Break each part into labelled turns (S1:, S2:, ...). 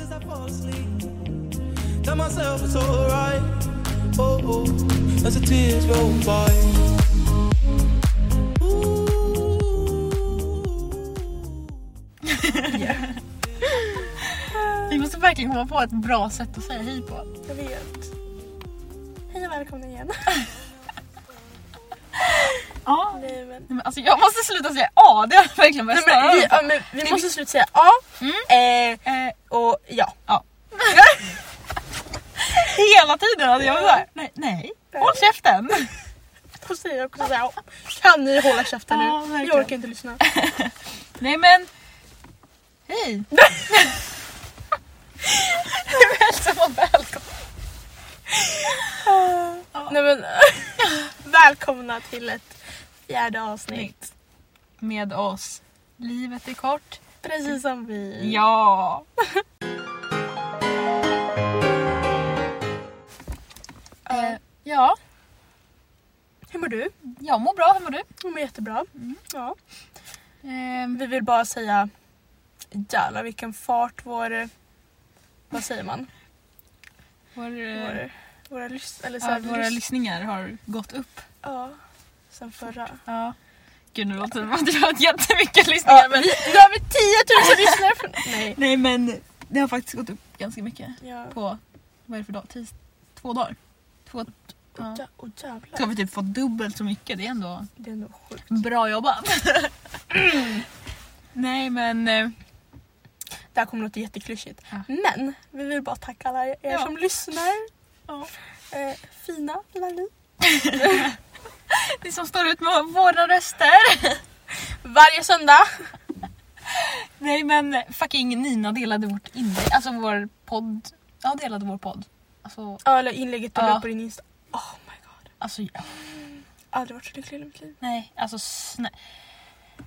S1: I fall asleep. Tell myself it's alright. Oh, oh, as the tears roll by.
S2: Vi måste verkligen komma på ett bra sätt att säga hej på.
S3: Jag vet. Hej och välkomna igen.
S2: Ja. Nej,
S3: Nej, men...
S2: men alltså jag måste sluta säga ja, det har jag verkligen börjat
S3: Nej, men, vi,
S2: störa
S3: ja,
S2: mig
S3: men, vi måste sluta säga ja eh,
S2: på. Eh,
S3: och ja.
S2: Hela tiden! Alltså jag var såhär, nej, nej, håll käften!
S3: Då säger jag också såhär, kan ni hålla käften nu?
S2: Ja, verkligen.
S3: jag orkar inte lyssna.
S2: Nej men, hej! Välkomna, välkomna!
S3: Nej, men, välkomna till ett fjärde avsnitt.
S2: Nytt. Med oss. Livet är kort.
S3: Precis som
S2: Eh.
S3: vi.
S2: Ja! Eh, ja,
S3: Hur mår du?
S2: jag mår bra, hur mår du?
S3: Jag mår jättebra.
S2: Mm.
S3: Ja.
S2: Ehm,
S3: Vi vill bara säga jävlar vilken fart vår... Vad säger man?
S2: vår, eh,
S3: Vår, våra lys, eller så
S2: ja,
S3: här, vi
S2: våra
S3: lys-
S2: lyssningar har gått upp.
S3: Ja, sen förra.
S2: Ja. Gud nu låter det som att jag har haft jättemycket lyssningar.
S3: Ja, men, nu har vi 10 000 lyssnare! från- Nej.
S2: Nej men det har faktiskt gått upp ganska mycket.
S3: Ja.
S2: På, vad är det för dag? Tis, två dagar? Två, ja.
S3: Ja, och
S2: Ska
S3: jävlar.
S2: vi typ få dubbelt så mycket? Det är ändå
S3: Det är nog sjukt.
S2: bra jobbat. Mm. Nej men eh,
S3: Det här kommer låta jätteklyschigt.
S2: Ja.
S3: Men vi vill bara tacka alla er
S2: Ja.
S3: som lyssnar.
S2: Ja.
S3: Eh, fina var ni.
S2: ni som står ut med våra röster.
S3: Varje söndag.
S2: Nej men fucking Nina delade vårt inlägg, alltså vår podd. Ja delade vår podd. Alltså,
S3: Ja, eller inlägget du
S2: Ja.
S3: la på din Insta. Oh my god.
S2: alltså ja.
S3: Aldrig varit så lycklig i mitt liv.
S2: nej alltså snä.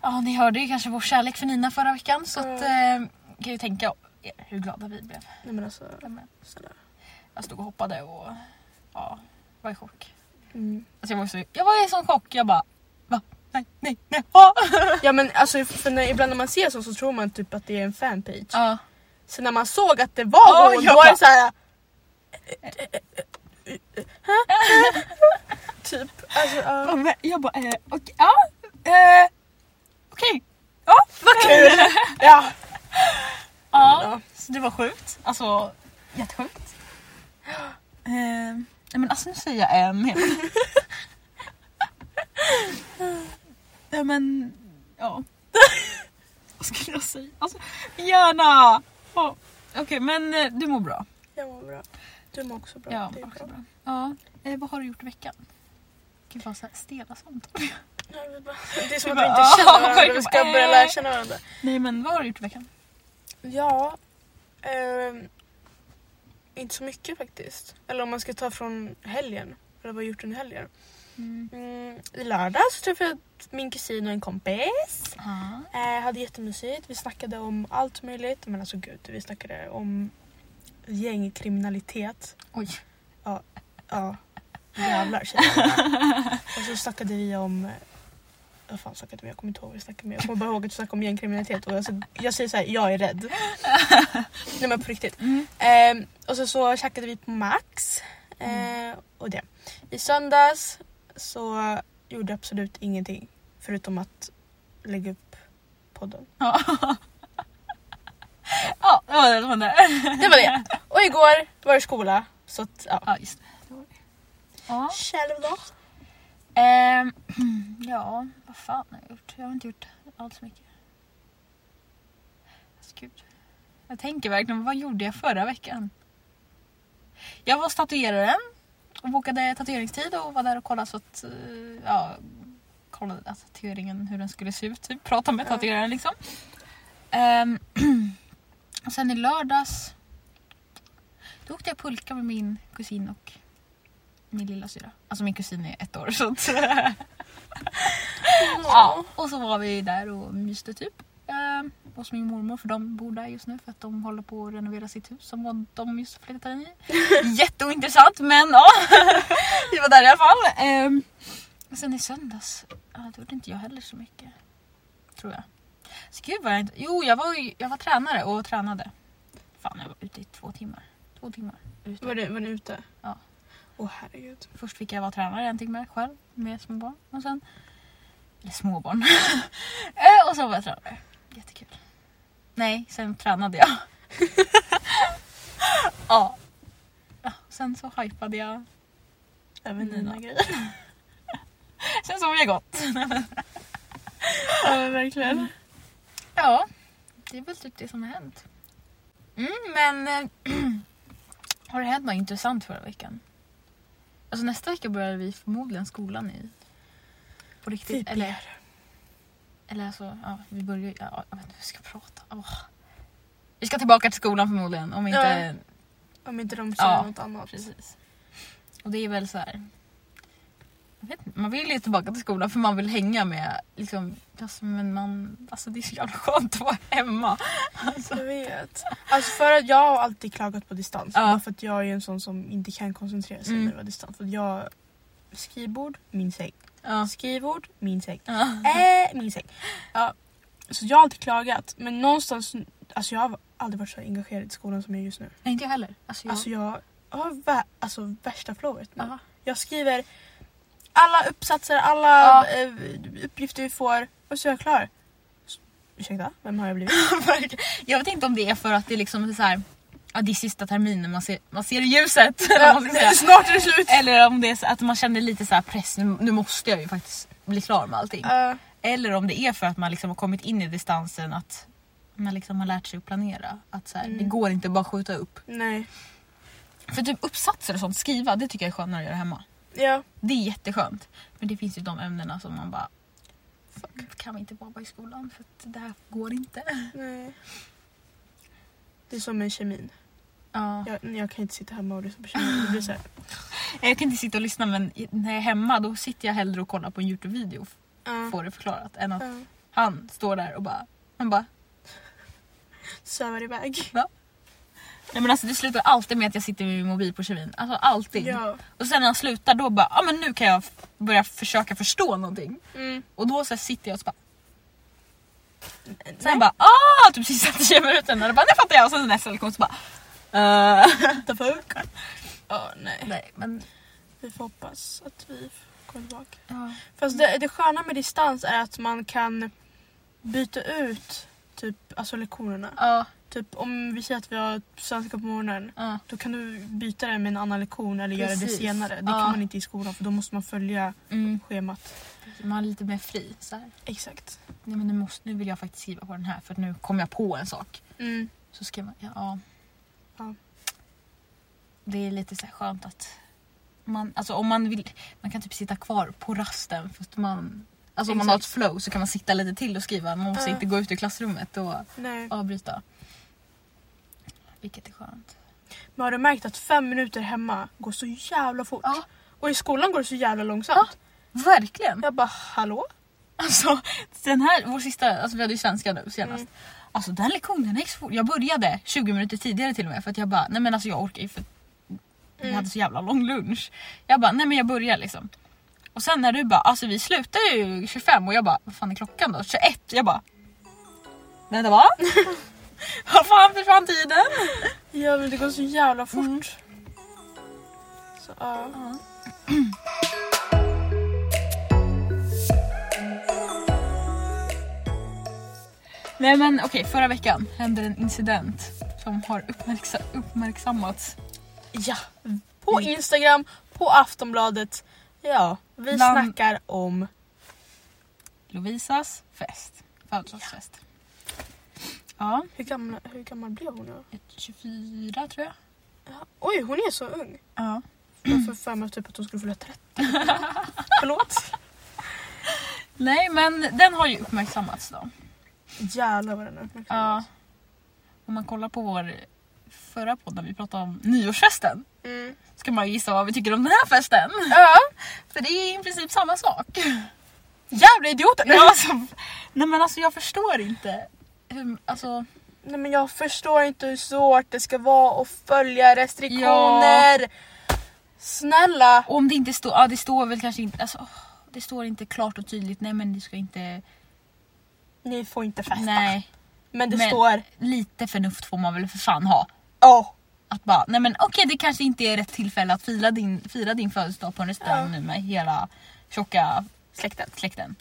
S2: Ja ni hörde ju kanske vår kärlek för Nina förra veckan så att, eh, kan ju tänka hur glada vi blev.
S3: Nej men alltså.
S2: Ja, men
S3: Snälla.
S2: Jag stod och hoppade och ja, var i chock.
S3: Mm.
S2: Alltså jag, var så, jag var i sån chock, jag bara va? Nej, nej, nej, ha!
S3: Ja men alltså för när, ibland när man ser så så tror man typ att det är en fanpage.
S2: Ja,
S3: Så när man såg att det var
S2: Ja,
S3: hon,
S2: jag
S3: då var
S2: bara-
S3: det såhär... typ. Alltså, ja.
S2: och jag bara eh, okej, ja, eh, okej, ja, vad kul!
S3: ja.
S2: ja, så det var sjukt, alltså jättesjukt. Eh, nej, men alltså nu säger jag en hela tiden. Nej men, ja. Vad skulle jag säga? Alltså, gärna! Oh, okej men eh, du mår bra?
S3: Jag mår bra. Du mår också bra.
S2: Ja,
S3: det är
S2: också
S3: bra.
S2: bra. Ja. Eh, vad har du gjort i veckan? Gud vad så här stela samtal.
S3: Ja, det är bra. Det är som
S2: Du
S3: att
S2: bara,
S3: vi inte
S2: "Ah,
S3: känner varandra, vi
S2: jag
S3: ska
S2: bara,
S3: börja
S2: eh."
S3: lära känna varandra.
S2: Nej men vad har du gjort i veckan?
S3: Ja. ehm, inte så mycket faktiskt. Eller om man ska ta från helgen. Eller vad jag gjort under helgen. Mm, I lördags träffade jag min kusin och en kompis.
S2: Ja.
S3: Eh, hade jättemysigt. Vi snackade om allt möjligt. Men alltså gud, vi snackade om gängkriminalitet.
S2: Oj.
S3: Ja, jävlar tjejerna. Och så snackade vi om... eh, Vad fan snackade vi? Jag kommer inte ihåg vad vi snackade med. Jag kommer bara ihåg att vi snackade om gängkriminalitet. Och jag, säger- jag säger så här, jag är rädd. Nej men på riktigt.
S2: Mm.
S3: Eh, och så, så käkade vi på Max. Eh, och det. I söndags så gjorde jag absolut ingenting. Förutom att lägga upp podden.
S2: Ja. ja, det var det. Det var det.
S3: Det var det. Och igår var det skola. Så att, ja.
S2: Ja, just det. det. var det. Ja.
S3: Själv då?
S2: Ehm, ja, vad fan har jag gjort? Jag har inte gjort allt så mycket. Alltså, gud. Jag tänker verkligen, vad gjorde jag förra veckan? Jag var hos tatueraren och bokade tatueringstid och var där och kollade så att, eh, ja, kollade att tatueringen, hur den skulle se ut. Typ. Prata med
S3: Ja.
S2: tatueraren liksom. Ehm, och sen i lördags, då åkte jag pulka med min kusin och min lilla syra. Alltså min kusin är ett år så att... Ja, och så var vi där och myste typ. Eh, hos min mormor för de bor där just nu för att de håller på att renovera sitt hus som var- de just flyttade in i. Jätteointressant men ja, vi var där i alla fall. Eh, och sen i söndags, ja, då gjorde inte jag heller så mycket. Tror jag. Så gud vad jag inte... Jo, jag var, ju- jag var tränare och tränade. Fan, jag var ut- ute i två timmar. Två timmar. Ute.
S3: Var, det, var ni ute?
S2: Ja.
S3: Åh herregud.
S2: Först fick jag vara tränare en timme själv med småbarn. Och sen... Eller småbarn. Eh, och så var jag tränare. Jättekul. Nej, sen tränade jag. ja. ja. Sen så hypade jag.
S3: Även
S2: Nina.
S3: dina grejer.
S2: Sen sov jag gott.
S3: ja men verkligen.
S2: Ja, det är väl typ det som har hänt. Mm, men eh, har det hänt något intressant förra veckan? Alltså nästa vecka börjar vi förmodligen skolan i... På riktigt.
S3: Typ
S2: Eller, eller alltså, ja, vi börjar ju- ja, Jag vet inte hur vi ska prata. Åh. Vi ska tillbaka till skolan förmodligen om inte...
S3: Om inte de säger
S2: Ja,
S3: något annat.
S2: Precis. Och det är väl så här... Jag vet inte, man vill ju tillbaka till skolan för man vill hänga med liksom, alltså, men man, alltså det är så jävla skönt att vara hemma.
S3: Jag vet. Alltså för att jag har alltid klagat på distans.
S2: Ja.
S3: Bara För att jag är ju en sån som inte kan koncentrera sig
S2: Mm.
S3: när det var distans. För att jag... Skrivbord, min säng.
S2: Ja.
S3: Skrivbord, min säng.
S2: Ja.
S3: Äh, min säng. Ja. Så jag har alltid klagat. Men någonstans... Alltså jag har aldrig varit så engagerad i skolan som jag är just nu.
S2: Nej, inte jag heller. Alltså, jag...
S3: Alltså jag har vä- alltså värsta flowet nu.
S2: ja.
S3: Jag skriver alla uppsatser, alla
S2: Ja.
S3: eh, uppgifter vi får och så är jag klar. S- Ursäkta, vem har jag blivit?
S2: Verkligen. jag vet inte om det är för att det är liksom så här, ja, det är sista terminen, man ser, man ser ljuset. eller vad man ska säga.
S3: Snart är det slut!
S2: Eller om det är så att man känner lite så här press, nu, nu måste jag ju faktiskt bli klar med allting.
S3: Eh,
S2: Eller om det är för att man liksom har kommit in i distansen att man liksom har lärt sig att planera. Att så här,
S3: Mm.
S2: Det går inte bara skjuta upp.
S3: nej.
S2: För typ uppsatser och sånt, skriva, det tycker jag är skönare att göra hemma.
S3: Ja.
S2: Det är jätteskönt. Men det finns ju de ämnena som man bara, fuck, kan vi inte bara vara i skolan för att det här går inte.
S3: Nej. Det är som med kemin.
S2: Ja.
S3: Jag, jag kan inte sitta hemma och lyssna på kemin. Det blir så här.
S2: Jag kan inte sitta och lyssna men när jag är hemma då sitter jag hellre och kollar på en Youtube-video och
S3: Uh,
S2: får det förklarat än att
S3: uh,
S2: han står där och bara... Man bara
S3: Sövar iväg.
S2: Nej men alltså det slutar alltid med att jag sitter med min mobil på kemin. Alltså alltid.
S3: Ja.
S2: Och sen när jag slutar då bara, ja ah, men nu kan jag f- börja försöka förstå någonting.
S3: Mm.
S2: Och då så här sitter jag och så bara, sen
S3: Nej,
S2: bara ah! Typ sista tio minuterna, då bara nu fattar jag. Och sen nästa lektion så bara... eh,
S3: what the fuck? Ja, nej.
S2: nej men...
S3: Vi får hoppas att vi kommer tillbaka.
S2: Ja.
S3: Fast det, det sköna med distans är att man kan byta ut typ, alltså lektionerna.
S2: Ja.
S3: Typ om vi säger att vi har svenska på morgonen.
S2: ja.
S3: Då kan du byta det med en annan lektion eller göra det
S2: Precis.
S3: senare. Det
S2: Ja.
S3: kan man inte i skolan för då måste man följa
S2: Mm.
S3: schemat.
S2: Man är lite mer fri så här.
S3: Exakt.
S2: Nej men nu, måste, nu vill jag faktiskt skriva på den här för att nu kom jag på en sak.
S3: Mm.
S2: Så skrev man, ja. ja.
S3: Ja.
S2: Det är lite så här skönt att man, alltså om man vill, man kan typ sitta kvar på rasten för att man, alltså om man har ett flow så kan man sitta lite till och skriva. Man måste
S3: Ja.
S2: inte gå ut ur klassrummet och
S3: Nej.
S2: avbryta. Vilket är skönt.
S3: Men har du märkt att fem minuter hemma går så jävla fort?
S2: Ja.
S3: Och i skolan går det så jävla långsamt.
S2: Verkligen!
S3: Jag bara hallå?
S2: Alltså den här, vår sista, alltså vi hade ju svenska nu senast.
S3: Mm.
S2: Alltså den lektionen gick så fort. Jag började 20 minuter tidigare till och med för att jag bara, nej men alltså jag orkar ju för Vi
S3: Mm.
S2: hade så jävla lång lunch. Jag bara, nej men jag börjar liksom. Och sen när du bara, alltså vi slutar ju 25 och jag bara, vad fan är klockan då? 21? Jag bara, vänta va? vad fan försvann tiden?
S3: Ja men det går så jävla fort.
S2: Mm.
S3: Så, ja.
S2: Nej men okej, förra veckan hände en incident som har uppmärksa- uppmärksammats.
S3: ja. På
S2: Mm.
S3: Instagram, på Aftonbladet. Ja, vi
S2: Bland-
S3: snackar om...
S2: Lovisas fest, födelsedagsfest. Ja,
S3: Hur gammal, hur gammal blev hon? då?
S2: ett 24 tror jag.
S3: Ja. Oj, hon är så ung.
S2: Ja.
S3: Jag får för mig typ att hon skulle fylla 30. Förlåt.
S2: Nej men den har ju uppmärksammats då.
S3: Jävlar vad den är
S2: Ja. Om man kollar på vår förra podd när vi pratade om nyårsfesten
S3: Mm.
S2: ska man ju gissa vad vi tycker om den här festen.
S3: Ja.
S2: För det är i princip samma sak.
S3: Jävla idioter!
S2: Ja, alltså, nej men alltså jag förstår inte. Hur, alltså,
S3: Nej men jag förstår inte hur svårt det ska vara att följa restriktioner. Snälla!
S2: om det inte står, ja det står väl kanske inte, alltså, åh, det står inte klart och tydligt, nej men du ska inte,
S3: Ni får inte festa.
S2: nej.
S3: Men det
S2: Men-
S3: står...
S2: Lite förnuft får man väl för fan ha.
S3: Ja.
S2: Att bara, nej men okej det kanske inte är rätt tillfälle att fira din, fira din födelsedag på en restaurang nu med hela tjocka
S3: Släkten.
S2: släkten.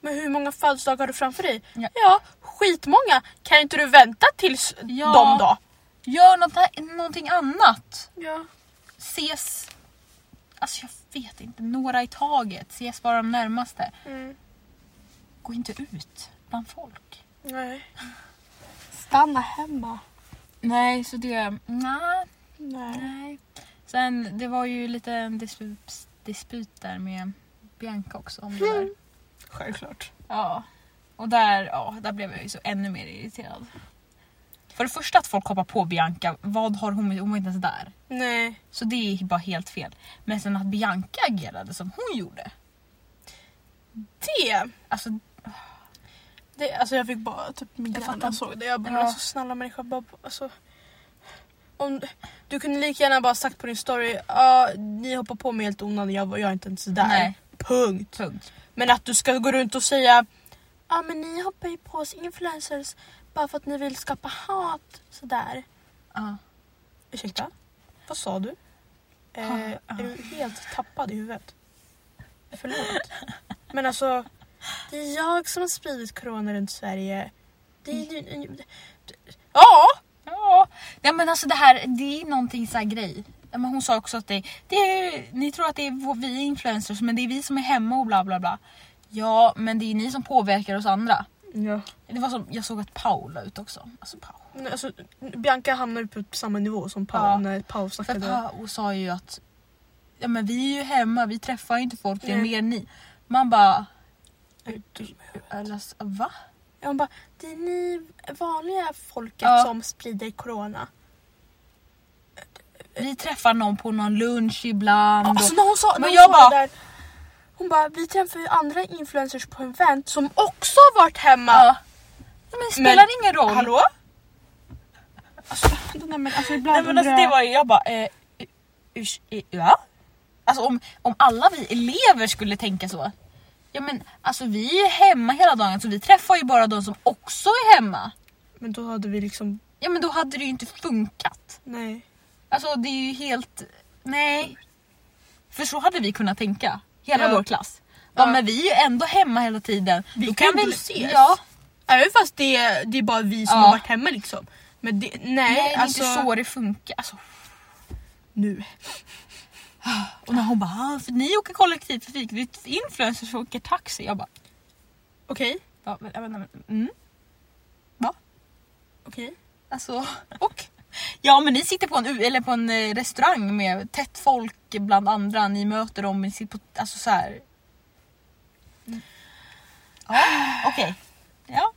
S3: Men hur många födelsedagar har du framför dig?
S2: Ja.
S3: skitmånga. Kan inte du vänta tills
S2: Ja.
S3: dem då?
S2: Gör något, någonting annat.
S3: Ja.
S2: Ses, alltså jag vet inte, några i taget. Ses bara de närmaste.
S3: Mm.
S2: Gå inte ut bland folk.
S3: Nej. Stanna hemma.
S2: Nej, så det... Nej.
S3: Nej.
S2: nej. Sen, det var ju lite en disput, disput där med Bianca också om det där.
S3: Självklart.
S2: Ja. Och där, ja, där blev jag ju så ännu mer irriterad. För det första att folk hoppar på Bianca, vad har hon, hon var inte ens där.
S3: Nej.
S2: Så det är bara helt fel. Men sen att Bianca agerade som hon gjorde.
S3: Det.
S2: Alltså,
S3: det alltså jag fick bara typ
S2: Jag
S3: migrän
S2: fattar.
S3: när jag såg det. Jag bara,
S2: Ja.
S3: men alltså, snälla människa. Bara, alltså, om, du kunde lika gärna bara sagt på din story, ja ni hoppar på mig helt onödan, jag, var- jag är inte ens där.
S2: Nej.
S3: Punkt.
S2: punkt.
S3: Men att du ska gå runt och säga Ja men ni hoppar ju på oss influencers bara för att ni vill skapa hat sådär.
S2: Ja.
S3: Ursäkta? Vad sa du?
S2: Ha,
S3: Eh,
S2: ja.
S3: är du helt tappad i huvudet? Förlåt. Men alltså, det är jag som har spridit corona runt Sverige. Det är ju... Ja!
S2: Ja, ja men alltså det här det är någonting så här grej. Ja, Men hon sa också att det, det är, ni tror att det är vår, vi influencers men det är vi som är hemma och bla bla bla. Ja men det är ni som påverkar oss andra.
S3: ja.
S2: Det var som, jag såg att Paul la ut också. Alltså Paul.
S3: Men Alltså, Bianca hamnar ju på samma nivå som Paul
S2: Ja.
S3: när Paul
S2: För
S3: snackade.
S2: Paul sa ju att ja, men vi är ju hemma, vi träffar ju inte folk, det är
S3: Nej.
S2: mer ni. Man bara,
S3: Är du dum i huvudet?
S2: eller så- va?
S3: Ja, Hon bara, det är ni vanliga folket
S2: Ja.
S3: som sprider corona.
S2: Vi träffar någon på någon lunch ibland. och-
S3: Alltså när hon sa, när
S2: Men
S3: hon
S2: jag
S3: sa
S2: bara-
S3: det där, hon bara, vi träffar ju andra influencers på event som också har varit hemma.
S2: ja. Ja, men spelar
S3: Men-
S2: ingen roll.
S3: Hallå? Alltså, nej, men, alltså ibland
S2: Nej men alltså det var ju, jag bara eh, urs, eh, ja? Alltså om, om alla vi elever skulle tänka så. Ja men alltså vi är hemma hela dagen så vi träffar ju bara de som också är hemma.
S3: men då hade vi liksom,
S2: Ja men då hade det ju inte funkat.
S3: nej.
S2: Alltså det är ju helt, nej. För så hade vi kunnat tänka, hela
S3: Ja.
S2: vår klass. Ja,
S3: Ja.
S2: men vi är ju ändå hemma hela tiden.
S3: Vi
S2: Då
S3: kan ju
S2: vi-
S3: ändå ses.
S2: Ja,
S3: Även fast det, är- det är bara vi som
S2: Ja.
S3: har varit hemma liksom. Men det, nej,
S2: nej, det är
S3: alltså.
S2: inte så det funkar. Alltså,
S3: Nu.
S2: och när hon bara, "Ah, för ni åker kollektivtrafik, det är influencers som åker taxi. Jag bara,
S3: Okej,
S2: Ja, men, ja, men, men, mm.
S3: okej.
S2: Alltså, och? Ja men ni sitter på en, u- eller på en eh, restaurang med tätt folk bland andra, ni möter dem, ni sitter på, alltså så här. Mm. Ja, okej. Ja.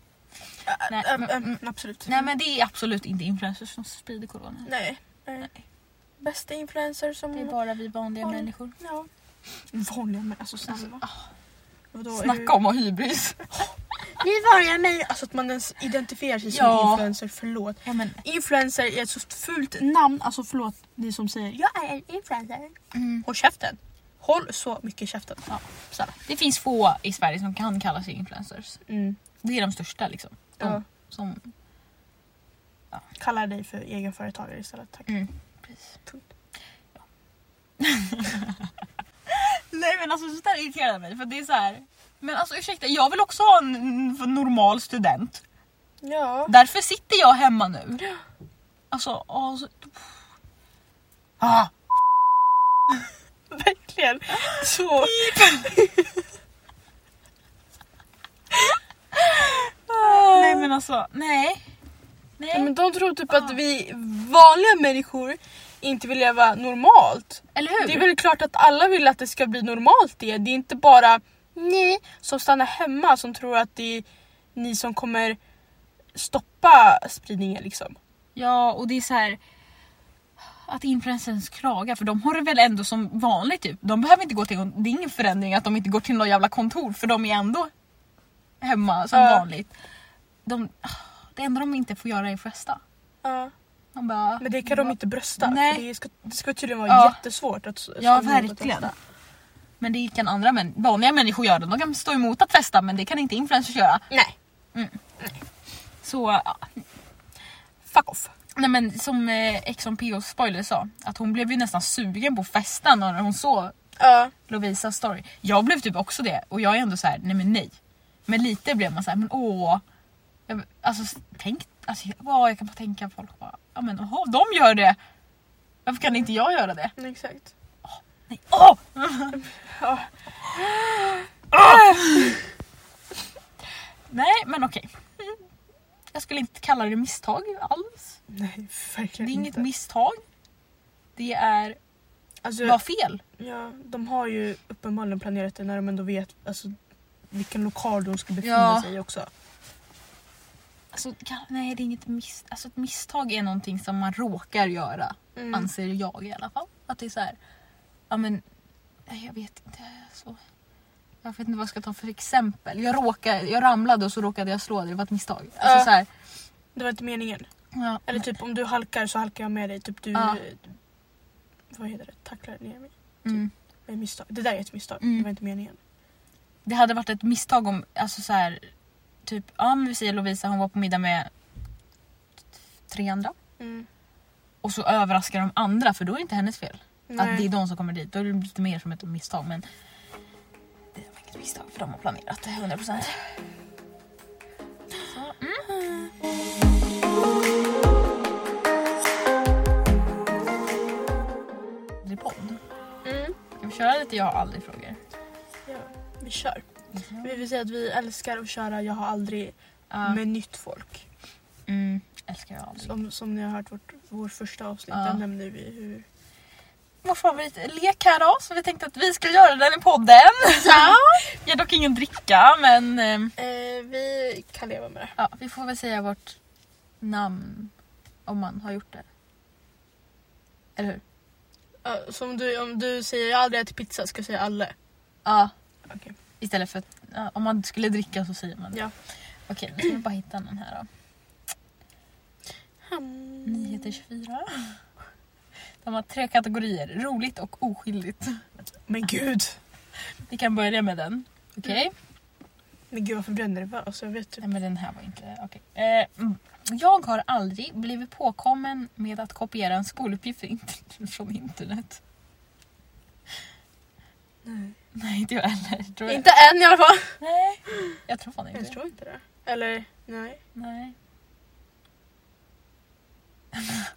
S2: Nej,
S3: Äm,
S2: men-
S3: äm, äh, mm, absolut.
S2: Nej men det är absolut inte influencers som sprider corona.
S3: nej. nej. Bästa influencer som...
S2: Det är bara vi vanliga
S3: Ja.
S2: människor.
S3: Ja. Vanliga män, alltså snälla. Vadå, är du-
S2: Snacka om att ha hybris.
S3: Ni vanliga mig. Alltså att man ens identifierar sig
S2: Ja.
S3: som influencer, förlåt.
S2: Ja, men,
S3: Influencer är ett så fult namn, alltså förlåt ni som säger jag är en influencer.
S2: mm.
S3: Håll käften. Håll så mycket käften.
S2: Ja. Det finns få i Sverige som kan kalla sig influencers.
S3: Mm.
S2: Det är de största liksom. De,
S3: Ja.
S2: som,
S3: Kalla dig för egenföretagare istället tack.
S2: Mm.
S3: Punkt.
S2: Nej men alltså sånt där irriterar mig för det är så här. Men alltså ursäkta, jag vill också ha en en normal student.
S3: Ja.
S2: Därför sitter jag hemma nu. Alltså, alltså ah.
S3: Verkligen. Så.
S2: Nej men alltså, nej.
S3: Ja,
S2: nej.
S3: men de tror typ att vi vanliga människor inte vill leva normalt.
S2: Eller hur?
S3: Det är väl klart att alla vill att det ska bli normalt det. Det är inte bara ni som stannar hemma som tror att det är ni som kommer stoppa spridningen liksom.
S2: Ja och det är så här att influencers klagar för de har det väl ändå som vanligt typ. De behöver inte gå till, det är ingen förändring att de inte går till något jävla kontor för de är ändå hemma som
S3: Ja.
S2: vanligt. De, ah, det enda de inte får göra är att festa.
S3: Ja.
S2: Man bara,
S3: Men det kan de inte brösta.
S2: Nej.
S3: För det, ska, det ska tydligen vara
S2: Ja.
S3: jättesvårt att s-
S2: Ja
S3: stå emot att
S2: verkligen.
S3: brösta.
S2: Men det kan andra män, vanliga människor göra. De kan stå emot att festa men det kan inte influencers göra.
S3: Nej,
S2: Så ja,
S3: fuck off.
S2: Nej men som eh, Ex on PO spoiler sa, att hon blev ju nästan sugen på festen när hon såg
S3: Ja.
S2: Lovisas story. Jag blev typ också det och jag är ändå så här, nej men nej. Men lite blev man så här, men åh. Jag, alltså tänk, alltså, jag, åh, jag kan bara tänka att folk bara, ja men åh, de gör det. Varför kan inte jag göra det?
S3: Nej, exakt.
S2: Nej, åh!
S3: Ja.
S2: Nej men okej. Mm. Jag skulle inte kalla det misstag alls.
S3: Nej,
S2: Det
S3: verkligen
S2: är inget
S3: inte.
S2: misstag. Det är
S3: Alltså,
S2: bara fel.
S3: ja, de har ju uppenbarligen planerat det när de ändå vet alltså, vilken lokal de ska befinna
S2: Ja.
S3: sig i också.
S2: Alltså, kan, nej, det är inget mis, alltså, ett misstag är någonting som man råkar göra.
S3: Mm.
S2: Anser jag i alla fall. Att det är så här, ja men, nej, jag vet inte. Så, jag vet inte vad jag ska ta för exempel. Jag, råkar, jag ramlade och så råkade jag slå dig, det var ett misstag. Alltså,
S3: Ja.
S2: så här,
S3: Det var inte meningen.
S2: ja,
S3: Eller typ om du halkar så halkar jag med dig. Typ du...
S2: Ja.
S3: Vad heter det? Tacklar ner mig.
S2: mm.
S3: Med misstag. Det där är ett misstag.
S2: Mm.
S3: Det var inte meningen.
S2: Det hade varit ett misstag om, alltså så här, typ, ja men vi säger Lovisa, hon var på middag med tre andra.
S3: Mm.
S2: Och så överraskar de andra för då är det inte hennes fel. Att det är
S3: Nej.
S2: de som kommer dit. Då är det lite mer som ett misstag. Men det var inget misstag för de har planerat det 100%. Så, mm. Det är podd.
S3: Mm.
S2: Ska vi köra lite jag har aldrig frågor?
S3: Ja, vi kör. Vi vill säga att vi älskar att köra Jag har aldrig
S2: Ja.
S3: med nytt folk.
S2: Mm, älskar jag aldrig.
S3: Som, som ni har hört vårt, vår första avsnitt.
S2: Ja.
S3: Där nämnde vi hur...
S2: Vår favoritlek här då, så vi tänkte att vi skulle göra den i podden. Ja. Jag dock ingen dricka men ehm,
S3: Eh, vi kan leva med det.
S2: ja, vi får väl säga vårt namn om man har gjort det. Eller hur?
S3: Ja, så om du, om du säger jag har aldrig ätit pizza ska jag säga alla.
S2: Ja.
S3: Okej.
S2: Istället för att ja, om man skulle dricka så säger man det.
S3: Ja.
S2: Okej, nu ska vi bara hitta någon här då.
S3: Mm.
S2: Nyheter 24. De har tre kategorier, roligt och oskyldigt.
S3: Men gud!
S2: Vi kan börja med den. Okej?
S3: Mm. Men gud varför blir jag nervös? Jag vet typ.
S2: Nej men den här var inte... Okej. Eh, mm. jag har aldrig blivit påkommen med att kopiera en skoluppgift för int- från internet.
S3: Nej.
S2: Nej, inte jag heller. Tror jag.
S3: Inte än i alla fall.
S2: Nej, jag tror fan inte
S3: Jag
S2: det.
S3: tror inte det. Eller nej.
S2: Nej.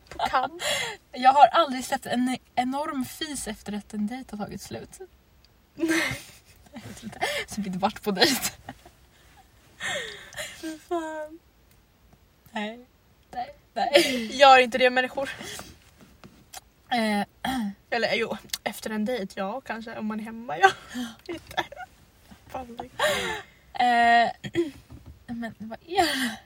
S3: På kant.
S2: Jag har aldrig sett en enorm fis efter att en dejt har tagit slut. Jag vet inte. Så vi inte varit på dejt.
S3: Fan.
S2: Nej. Nej. Nej.
S3: Gör inte det människor.
S2: Eh,
S3: Eller jo, efter en dejt ja kanske. Om man är hemma ja. Inte. Fan, det-
S2: eh, men vad är det?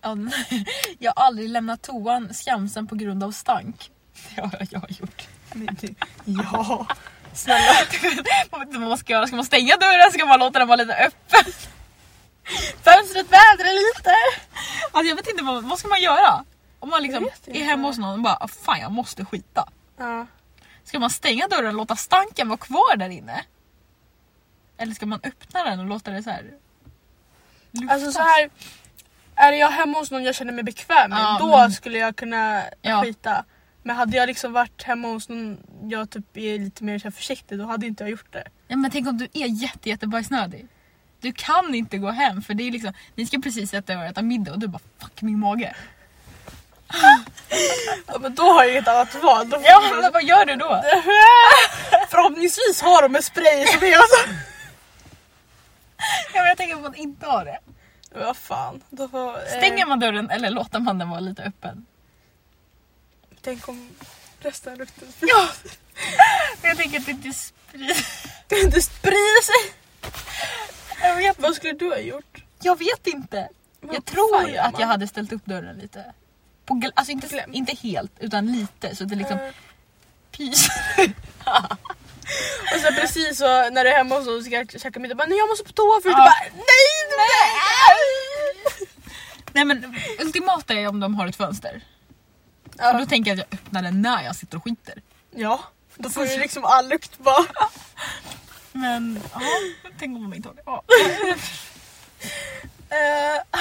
S2: Ja, nej. Jag har aldrig lämnat toan skamsen på grund av stank. Det har jag gjort.
S3: Men du, ja.
S2: Snälla. Man vet inte vad man ska göra. Ska man stänga dörren? Ska man låta den vara lite öppen? Fönstret vädrar lite. Alltså jag vet inte, vad, vad ska man göra? Om man liksom
S3: Jag vet
S2: är
S3: inte.
S2: hemma hos någon och bara "Ah, fan jag måste skita.
S3: ja.
S2: Ska man stänga dörren och låta stanken vara kvar där inne? Eller ska man öppna den och låta det så här... luftas?
S3: Alltså så här. Är jag hemma hos någon jag känner mig bekväm med,
S2: Ja,
S3: då
S2: men-
S3: skulle jag kunna
S2: Ja.
S3: skita. Men hade jag liksom varit hemma hos någon jag typ är lite mer så här försiktig då hade inte jag gjort det.
S2: Ja, men tänk om du är jätte, jättebajsnödig. Du kan inte gå hem för det är liksom, ni ska precis sätta er och äta middag och du bara fuck min mage.
S3: Ja, men då har jag inget annat val. Då får
S2: Ja,
S3: jag-
S2: men vad gör du då?
S3: Förhoppningsvis har de en spray som är så.
S2: Ja, men jag tänker på att inte ha det.
S3: Vad fan. Då får, eh,
S2: Stänger man dörren eller låter man den vara lite öppen?
S3: Tänk om resten av lukten
S2: Ja! Jag tänker att det inte sprider...
S3: det sprider sig.
S2: Jag vet,
S3: Vad skulle du ha gjort?
S2: jag vet inte.
S3: Vad
S2: Jag
S3: fan
S2: tror
S3: gör
S2: att
S3: man?
S2: jag hade ställt upp dörren lite. På gl- alltså inte,
S3: Glänt.
S2: inte helt, utan lite så att det liksom
S3: Eh,
S2: pyser.
S3: Och sen precis så när du är hemma och så ska jag käka middag bara nej jag måste på toa först.
S2: Ja.
S3: Du bara nej! du
S2: Nej men ultimata är om de har ett fönster.
S3: bara."
S2: För då tänker jag att jag öppnar den när jag sitter och skiter.
S3: Ja, då får du liksom all lukt bara.
S2: Men ja, tänk om de inte har det. Ja.
S3: Eh,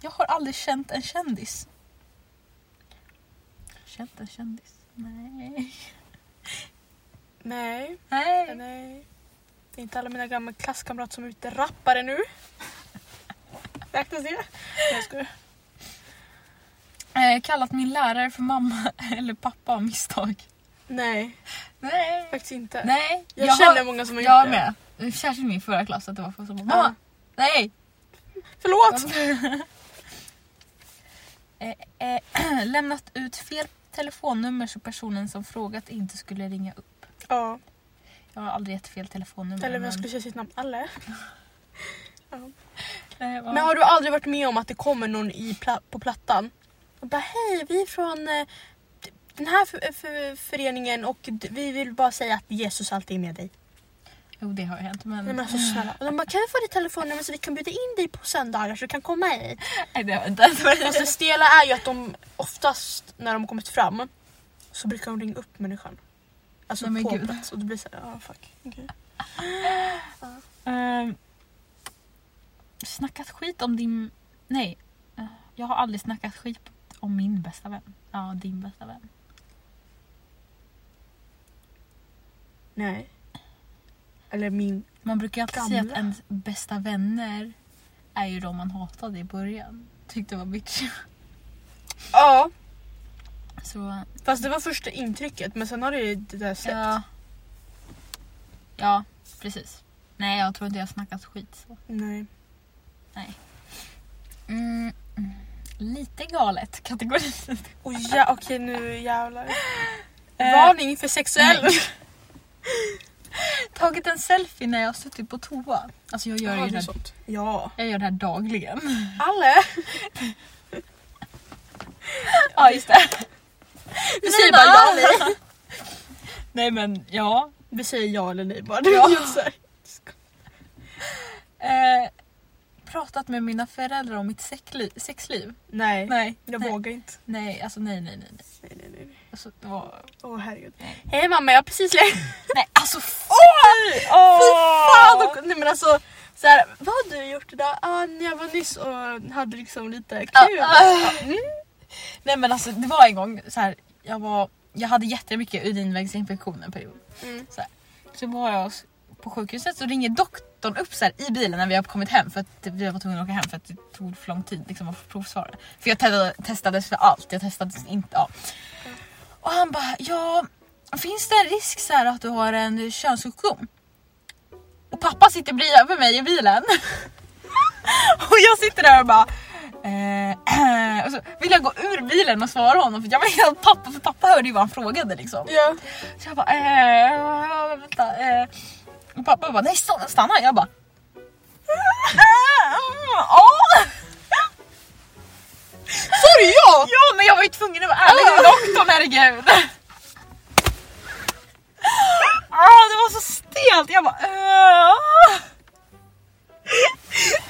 S2: Jag har aldrig känt en kändis. Känt en kändis? Nej.
S3: Nej,
S2: Nej.
S3: nej. Det är inte alla mina gamla klasskamrater som är ute rappare nu. Räknas det? Nej, Jag skojar.
S2: Eh, kallat min lärare för mamma eller pappa av misstag.
S3: Nej,
S2: Nej.
S3: faktiskt inte.
S2: Nej.
S3: Jag, känner
S2: har,
S3: många som har
S2: Jag
S3: gjort
S2: med. Särskilt min förra klass att det var folk som bara,
S3: Ja.
S2: mamma. Nej.
S3: det. Förlåt!
S2: Eh, eh, lämnat ut fel telefonnummer så personen som frågat inte skulle ringa upp.
S3: Ja,
S2: Jag har aldrig gett fel telefonnummer.
S3: eller vem
S2: men-
S3: skulle säga sitt namn? Alle?
S2: Nej, ja.
S3: Men har du aldrig varit med om att det kommer någon i pla- på plattan och bara hej, vi är från eh, den här för- för- föreningen och d- vi vill bara säga att Jesus alltid är med dig.
S2: Jo det har ju hänt men...
S3: Nej men alltså snälla. Och de bara kan vi få ditt telefonnummer så vi kan bjuda in dig på söndagar så du kan komma hit.
S2: Nej det har inte hänt.
S3: Fast det stela är ju att de oftast när de har kommit fram så brukar de ringa upp människan. Alltså
S2: Nej, men
S3: på
S2: gud.
S3: plats och det blir så här, ah, fuck. okej."
S2: Ehm, snackat skit om din... Nej. eh, Jag har aldrig snackat skit om min bästa vän. Ja, din bästa vän.
S3: Nej. Eller min.
S2: Man brukar ju alltid säga att
S3: Gamla.
S2: ens bästa vänner är ju de man hatade i början. Tyckte var bitch.
S3: Ja.
S2: Så
S3: Fast det var första intrycket men sen har det ju det där släppt.
S2: ja. Ja, precis. Nej, jag tror inte jag har snackat skit så.
S3: Nej.
S2: Mm. mm. Lite galet kategorin.
S3: Och Oh, ja, okej nu jävlar.
S2: Eh,
S3: Varning för sexuell.
S2: nej. Tagit en selfie när jag har suttit på toa. Alltså jag gör,
S3: Jaha,
S2: ju
S3: det
S2: det,
S3: är
S2: här,
S3: sånt. Ja.
S2: jag gör det här dagligen.
S3: Alle.
S2: Ja just det.
S3: Vi säger bara ja eller nej.
S2: Nej men ja.
S3: Vi säger ja eller nej bara.
S2: Ja.
S3: Just så här.
S2: Eh, pratat med mina föräldrar om mitt sexli- sexliv.
S3: Nej.
S2: Nej.
S3: Jag
S2: nej.
S3: vågar inte.
S2: Nej, alltså nej nej nej. nej.
S3: Nej, nej, nej.
S2: Alltså, det var...
S3: Åh herregud.
S2: Nej.
S3: Hej mamma, jag har precis lärt
S2: Nej alltså fy! Oh!
S3: Fy fan! Och, nej men alltså, så här, vad har du gjort idag? Ah, jag var nyss och hade liksom lite kul.
S2: Mm. Nej men alltså det var en gång så här, jag, var, jag hade jättemycket urinvägsinfektion en period.
S3: Mm.
S2: Så, här. så var jag s- på sjukhuset så ringer doktorn upp så här, i bilen när vi har kommit hem för att typ, vi var tvungna att åka hem för att det tog för lång tid liksom, att få provsvara. För jag testade, testades för allt, jag testades inte. Ja. Och han bara ja finns det en risk så här, att du har en könssjukdom? Och pappa sitter bredvid mig i bilen. Och jag sitter där och bara eh, och så vill jag gå ur bilen och svara honom för jag vill att pappa, för pappa hörde ju vad han frågade liksom.
S3: Ja.
S2: Så jag bara eh, vänta. Eh. Och pappa bara nej stanna, stanna. Jag bara "Ah, "Eh, ja.
S3: Så är det jag!
S2: ja men jag var ju tvungen att vara ärlig med doktorn herregud. Ah, det var så stelt. Jag bara eh.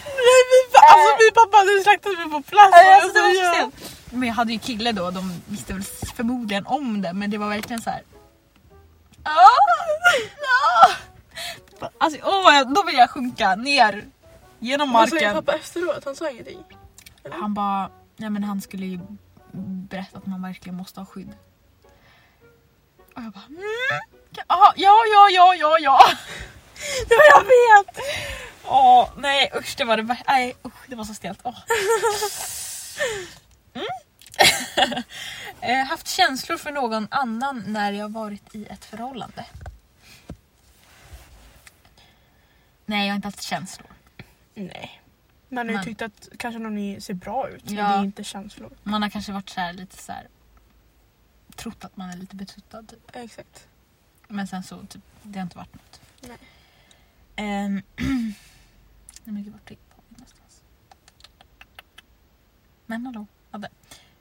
S3: Nej, min, pa- alltså, min pappa hade slaktat mig på plats.
S2: Nej, alltså, det var så
S3: Ja.
S2: sent. Men jag hade ju kille då, de visste väl förmodligen om det men det var verkligen så här. Ah, ah. Alltså, åh, jag- då vill jag sjunka ner genom
S3: Vad sa din
S2: marken.
S3: pappa efteråt? Han sa ingenting.
S2: Han bara, nej men han skulle ju berätta att man verkligen måste ha skydd. Och jag bara, mm, ja, ja, ja, ja, ja, ja.
S3: Ja, jag vet!
S2: Åh nej usch det var det vär- nej usch det var så stelt. Åh. Mm. eh, haft känslor för någon annan när jag varit i ett förhållande. Nej jag har inte haft känslor.
S3: Nej. Man har ju
S2: Men-
S3: tyckt att kanske någon i- ser bra ut, men
S2: Ja.
S3: det är inte känslor.
S2: Man har kanske varit så här lite så här trott att man är lite betuttad typ.
S3: Exakt.
S2: Men sen så typ, det har inte varit något.
S3: Nej.
S2: Ehm, nej men gud vart var vi någonstans? Men hallå, Adde.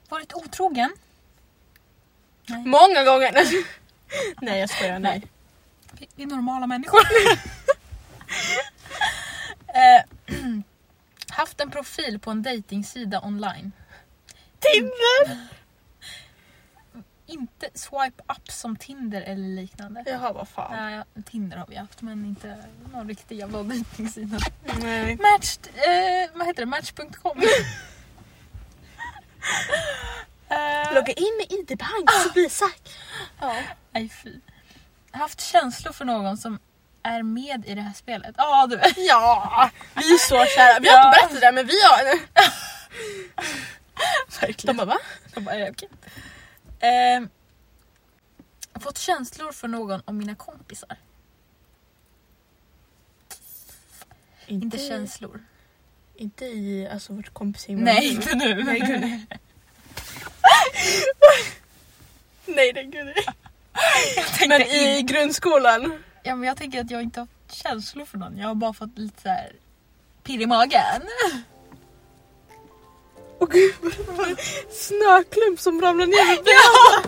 S2: Varit otrogen? Nej,
S3: Många gånger. nej, jag skojar. Nej.
S2: vi, vi är normala människor. Ehm, haft en profil på en dejtingsida online.
S3: Tinder!
S2: Inte swipe up som Tinder eller liknande.
S3: Jaha, vad fan.
S2: Nej, Tinder har vi haft men inte någon riktig jävla dejtingsida.
S3: Nej.
S2: Match, eh, vad heter det? Match.com. Eh,
S3: Logga in med ID-bank så blir Isak. Ja.
S2: Nej fy. Haft känslor för någon som är med i det här spelet? Ja du.
S3: ja, vi är så kära. Vi har
S2: Ja.
S3: inte berättat det här, men vi har... De
S2: Verkligen.
S3: bara va?
S2: De bara, eh, okej. Ehm, fått känslor för någon av mina kompisar. Inte känslor.
S3: Inte i alltså, vårt kompisgäng. men-
S2: Nej inte nu.
S3: Nej, gud, nej. Nej, det gud. nej. Men
S2: Tänkte in-
S3: i grundskolan.
S2: Ja men jag tänker att jag inte har haft känslor för någon. Jag har bara fått lite så här pirr i magen.
S3: Åh gud, vad det var en snöklump som ramlade ner.
S2: Ja!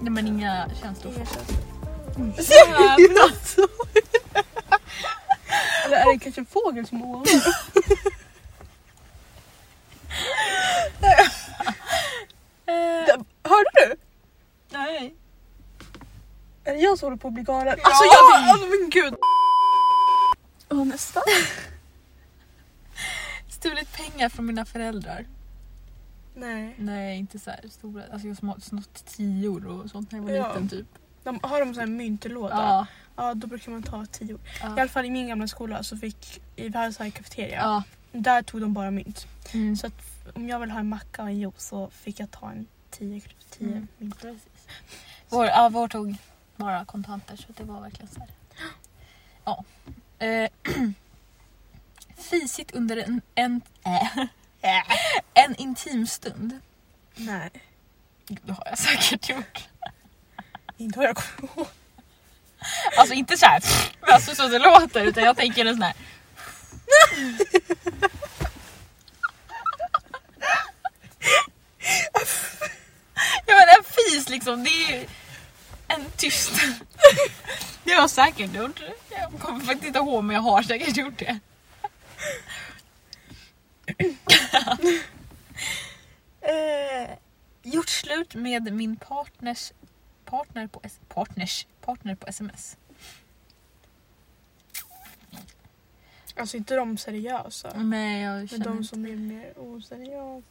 S2: Nej men inga känslor.
S3: Jävlar! Eller är det kanske en fågel som åker?
S2: Eh,
S3: Hörde du?
S2: nej.
S3: Är det jag som håller på att bli
S2: Ja!
S3: galen? Alltså jag vill... Åh men gud! Och nästa.
S2: Stulit pengar från mina föräldrar.
S3: Nej.
S2: Nej inte så här stora. Alltså jag har snott tior och sånt när jag var
S3: Ja.
S2: liten typ.
S3: De, har de sån här myntlåda?
S2: Ja.
S3: Ja, då brukar man ta tio. I
S2: Ja.
S3: alla fall i min gamla skola så fick vi hade så här kafeteria.
S2: ja.
S3: Där tog de bara mynt.
S2: Mm.
S3: Så att om jag vill ha en macka och en juice så fick jag ta en 10 10
S2: Mm.
S3: mynt.
S2: Precis. Vår, ja, vår tog bara kontanter så det var verkligen så här. Ja. Eh, Fisigt under en, en, äh, en intim stund.
S3: Nej,
S2: Det har jag säkert gjort.
S3: inte vad jag kommer ihåg.
S2: Alltså inte så här, alltså så det låter utan jag tänker en sån här. Ja men en fis liksom, det är ju en tyst. Det har jag säkert gjort. Jag kommer faktiskt inte ihåg men jag har säkert gjort det. Eh, gjort slut med min partners partner på, S- partners, partner på sms.
S3: Alltså inte de seriösa.
S2: Nej, jag
S3: Men
S2: känner
S3: de
S2: inte.
S3: som är mer oseriösa.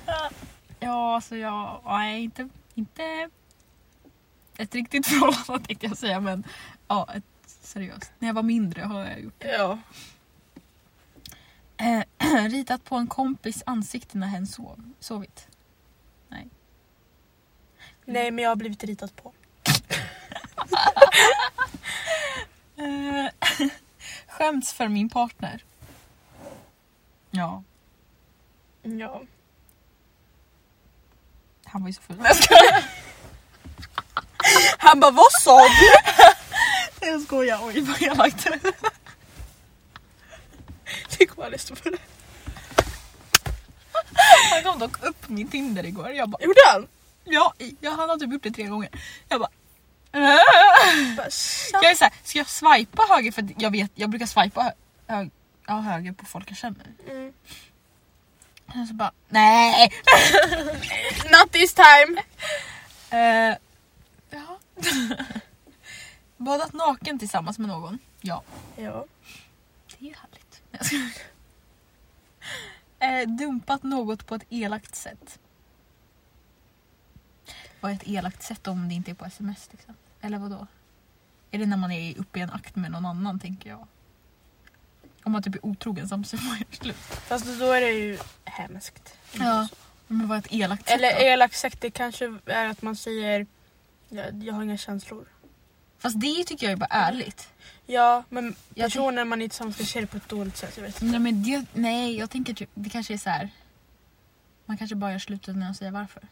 S2: Ja, alltså jag... Nej, inte, inte ett riktigt förhållande tänkte jag säga, men ja, ett seriöst. När jag var mindre har jag gjort
S3: ja.
S2: Eh, ritat på en kompis ansikte när hen sov, sovit.
S3: Nej men jag har blivit ritat på.
S2: Eh, skämts för min partner. Ja,
S3: Ja.
S2: han var ju så full.
S3: Han bara vad sa du?
S2: Jag skojar, oj vad elakt.
S3: Det kommer jag lyssna på. det.
S2: Han kom dock upp min Tinder igår. Jag bara,
S3: Gjorde han?
S2: ja, ja, han har typ gjort det tre gånger. Jag bara, "Äh?"
S3: Bara,
S2: Jag är såhär, ska jag swipa höger? För att jag vet, jag brukar swipa hö hö ja, höger på folk jag känner.
S3: mm.
S2: Och så bara, nej!
S3: Not this time!
S2: Eh, ja. Badat naken tillsammans med någon. Ja.
S3: Ja.
S2: Det är ju härligt. Jag skojar. Eh, dumpat något på ett elakt sätt. Vad är ett elakt sätt om det inte är på sms? Liksom? Eller vad då? Är det när man är uppe i en akt med någon annan tänker jag. Om man typ är otrogen samtidigt som man gör slut.
S3: Fast då är det ju hemskt.
S2: Ja. Men vad är ett elakt sätt
S3: Eller
S2: då?
S3: elakt sagt det kanske är att man säger jag, jag har inga känslor.
S2: Fast det tycker jag är bara ärligt.
S3: Ja men
S2: Jag
S3: personen man är tillsammans med ser det på ett dåligt sätt. Jag vet.
S2: Nej, men det, nej jag tänker typ, det kanske är så här. Man kanske bara gör slut utan att säga varför.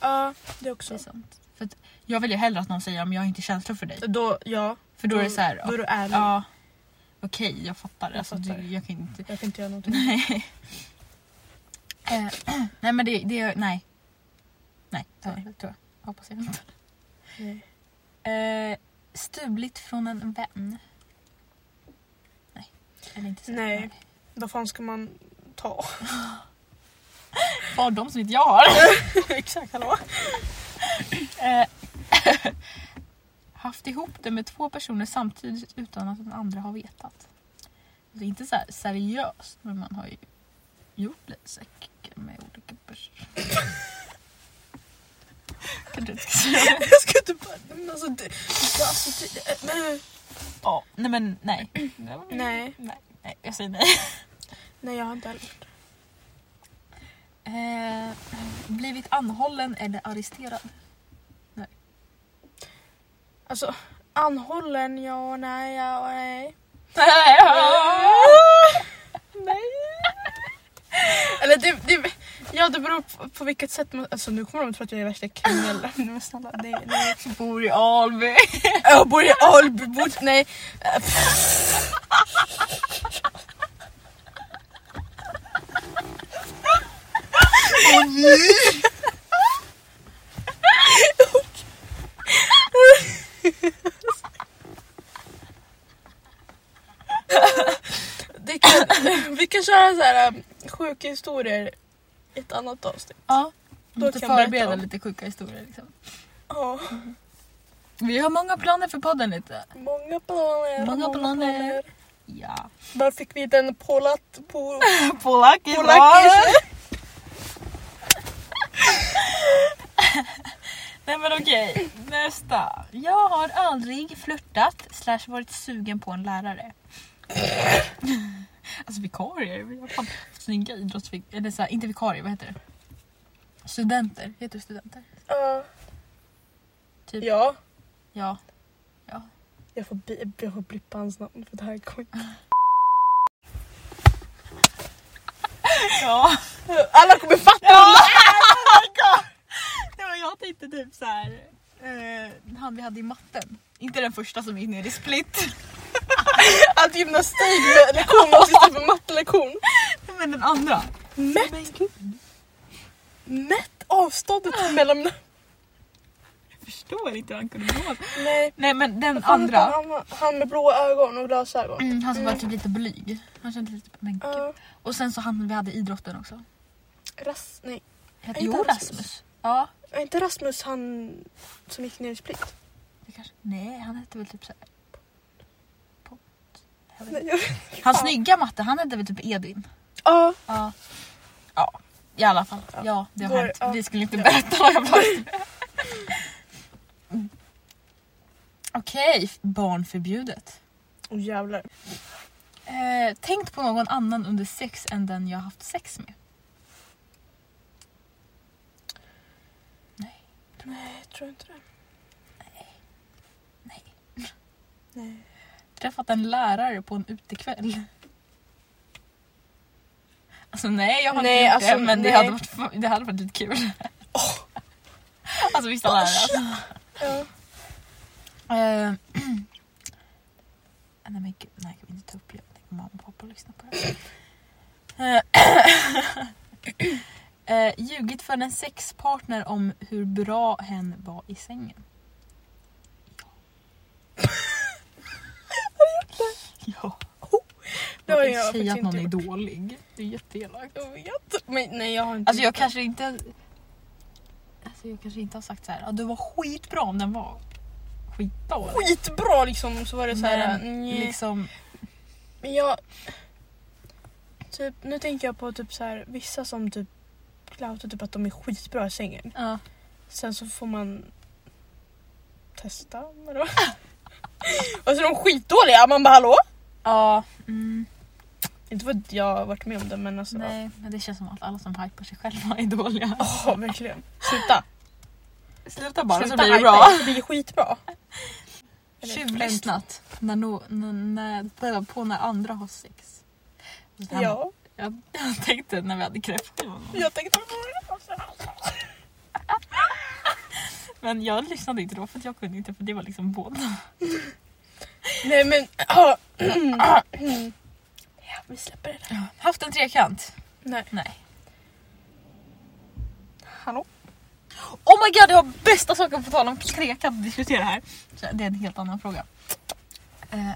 S3: Ja det
S2: Det
S3: också.
S2: är sant. För att jag vill ju hellre att någon säger om jag har inte känslor för dig.
S3: Då, ja,
S2: För då är det så här.
S3: då är du ärlig.
S2: Ja, okej Mm. jag fattar.
S3: Jag
S2: Alltså, du-
S3: fattar.
S2: jag kan inte.
S3: Jag kan inte göra någonting.
S2: Nej. Eh, nej men det, det nej. Nej, det tror
S3: Nej.
S2: jag. Hoppas jag inte.
S3: Nej.
S2: Eh, stulit från en vän. Nej, eller inte så.
S3: Nej. Vad fan ska man ta?
S2: Var de som inte jag har.
S3: Exakt, hallå?
S2: Eh, haft ihop det med två personer samtidigt utan att den andra har vetat. det är inte så här seriöst men man har ju gjort lite säck med olika personer. Kanske inte ska säga det.
S3: Jag ska inte bara... Men alltså, det, alltså, det, men,
S2: Ja, nej men nej.
S3: Nej.
S2: nej. Nej, jag säger nej.
S3: nej, jag har inte heller gjort det.
S2: Eh, blivit anhållen eller arresterad?
S3: Alltså, anhållen, ja, nej, ja, nej. Nej. Eller det, det, ja, det beror på, på vilket sätt man... Alltså nu kommer de att tro att jag är värsta kriminell. Nej, men snälla, det, nej.
S2: Bor i Alby.
S3: Jag bor i Alby, bor, nej. Det kan, vi kan köra så här um, sjuka historier i ett annat avsnitt.
S2: Ja.
S3: Då
S2: Måste
S3: kan jag berätta
S2: förbereda
S3: om.
S2: lite sjuka historier liksom.
S3: Ja,
S2: Vi har många planer för podden lite.
S3: många planer.
S2: Många planer. Ja.
S3: Var fick vi den pålatt på...
S2: Polacker.
S3: Polacker.
S2: Nej men okej, nästa. Jag har aldrig flörtat slash varit sugen på en lärare. alltså vikarier, vi har fan snygga idrottsvik... Eller så här, inte vikarier, vad heter det? Studenter, heter det studenter?
S3: Ja.
S2: Typ.
S3: Ja.
S2: Ja.
S3: Jag får, bi- jag får blippa hans namn för det här kommer
S2: Ja.
S3: Alla kommer fatta!
S2: oh Nej, men jag tänkte typ så här. Eh, han vi hade i matten. Inte den första som gick ner i split.
S3: Att gymnastiklektion var sista för mattelektion.
S2: Men den andra.
S3: Mätt! Mätt avståndet mellan...
S2: Jag förstår inte hur han kunde gå.
S3: Nej.
S2: Nej men den
S3: Fan,
S2: andra.
S3: Han, han med blåa ögon och glasögon.
S2: Mm, han som var typ lite blyg. Han kände lite men gud.
S3: Ja.
S2: Och sen så han vi hade idrotten också.
S3: Ras, nej.
S2: Hette,
S3: Inte
S2: jo
S3: Rasmus.
S2: Rasmus. Ja.
S3: Är inte Rasmus han som gick ner i split?
S2: Det kanske, nej han hette väl typ så här. Pott. Jag vet
S3: Nej,
S2: inte.
S3: jag-
S2: Han snygga matte han hette väl typ Edvin.
S3: Ja.
S2: Ja. Ja. I alla fall. Ja, det har
S3: Går-
S2: hänt.
S3: ja.
S2: Vi skulle inte berätta vad jag var. Mm. Okej, barn förbjudet.
S3: Åh jävlar.
S2: Eh, tänkt på någon annan under sex än den jag haft sex med.
S3: Nej, jag tror inte det.
S2: Nej.
S3: Nej.
S2: Träffat en lärare på en utekväll. Alltså nej, jag har
S3: Nej,
S2: inte gjort
S3: alltså,
S2: det men det
S3: nej.
S2: hade, varit, fa- det hade varit lite kul. Alltså vissa lärare. Alltså.
S3: Ja.
S2: Eh, nej men gud, nej jag vill inte ta upp det. Jag tänker mamma och pappa lyssnar på det här. Eh, eh, ljugit för en sexpartner om hur bra hen var i sängen. Ja.
S3: Det
S2: Har du gjort det? Ja. Man
S3: har jag
S2: kan säga att
S3: faktiskt
S2: någon
S3: inte
S2: är dålig. Det är jätteelakt.
S3: Jag vet. Men nej jag har inte
S2: Alltså jag
S3: gjort det.
S2: kanske inte... Alltså jag kanske inte har sagt så här. Ja, du var skitbra om den var skitdålig.
S3: skitbra liksom så var det så här.
S2: Men
S3: nej.
S2: liksom...
S3: Men jag... Typ, nu tänker jag på typ så här, vissa som typ cloutar typ att de är skitbra i sängen.
S2: Ja.
S3: Sen så får man testa. Eller vad? och så är de skitdåliga. Man bara hallå?
S2: Ja, mm,
S3: Inte för att jag har varit med om det men alltså.
S2: nej, men det känns som att alla som hypar sig själva är dåliga.
S3: Ja verkligen. Sluta.
S2: Sluta
S3: Sluta hypa er, Det är skitbra. Eller-
S2: Tjuvlyssnat när no, när, när, på när andra har sex. Det här-
S3: Ja,
S2: Jag, jag tänkte när vi hade kräftor.
S3: jag tänkte på det. också.
S2: Men jag lyssnade inte då för att jag kunde inte för det var liksom båda.
S3: Nej men... ja. ja, vi släpper det där.
S2: Haft en trekant?
S3: Nej.
S2: Nej.
S3: Hallå?
S2: Oh my god, jag har bästa saken på tal om trekant att diskutera här. Så det är en helt annan fråga. Eh,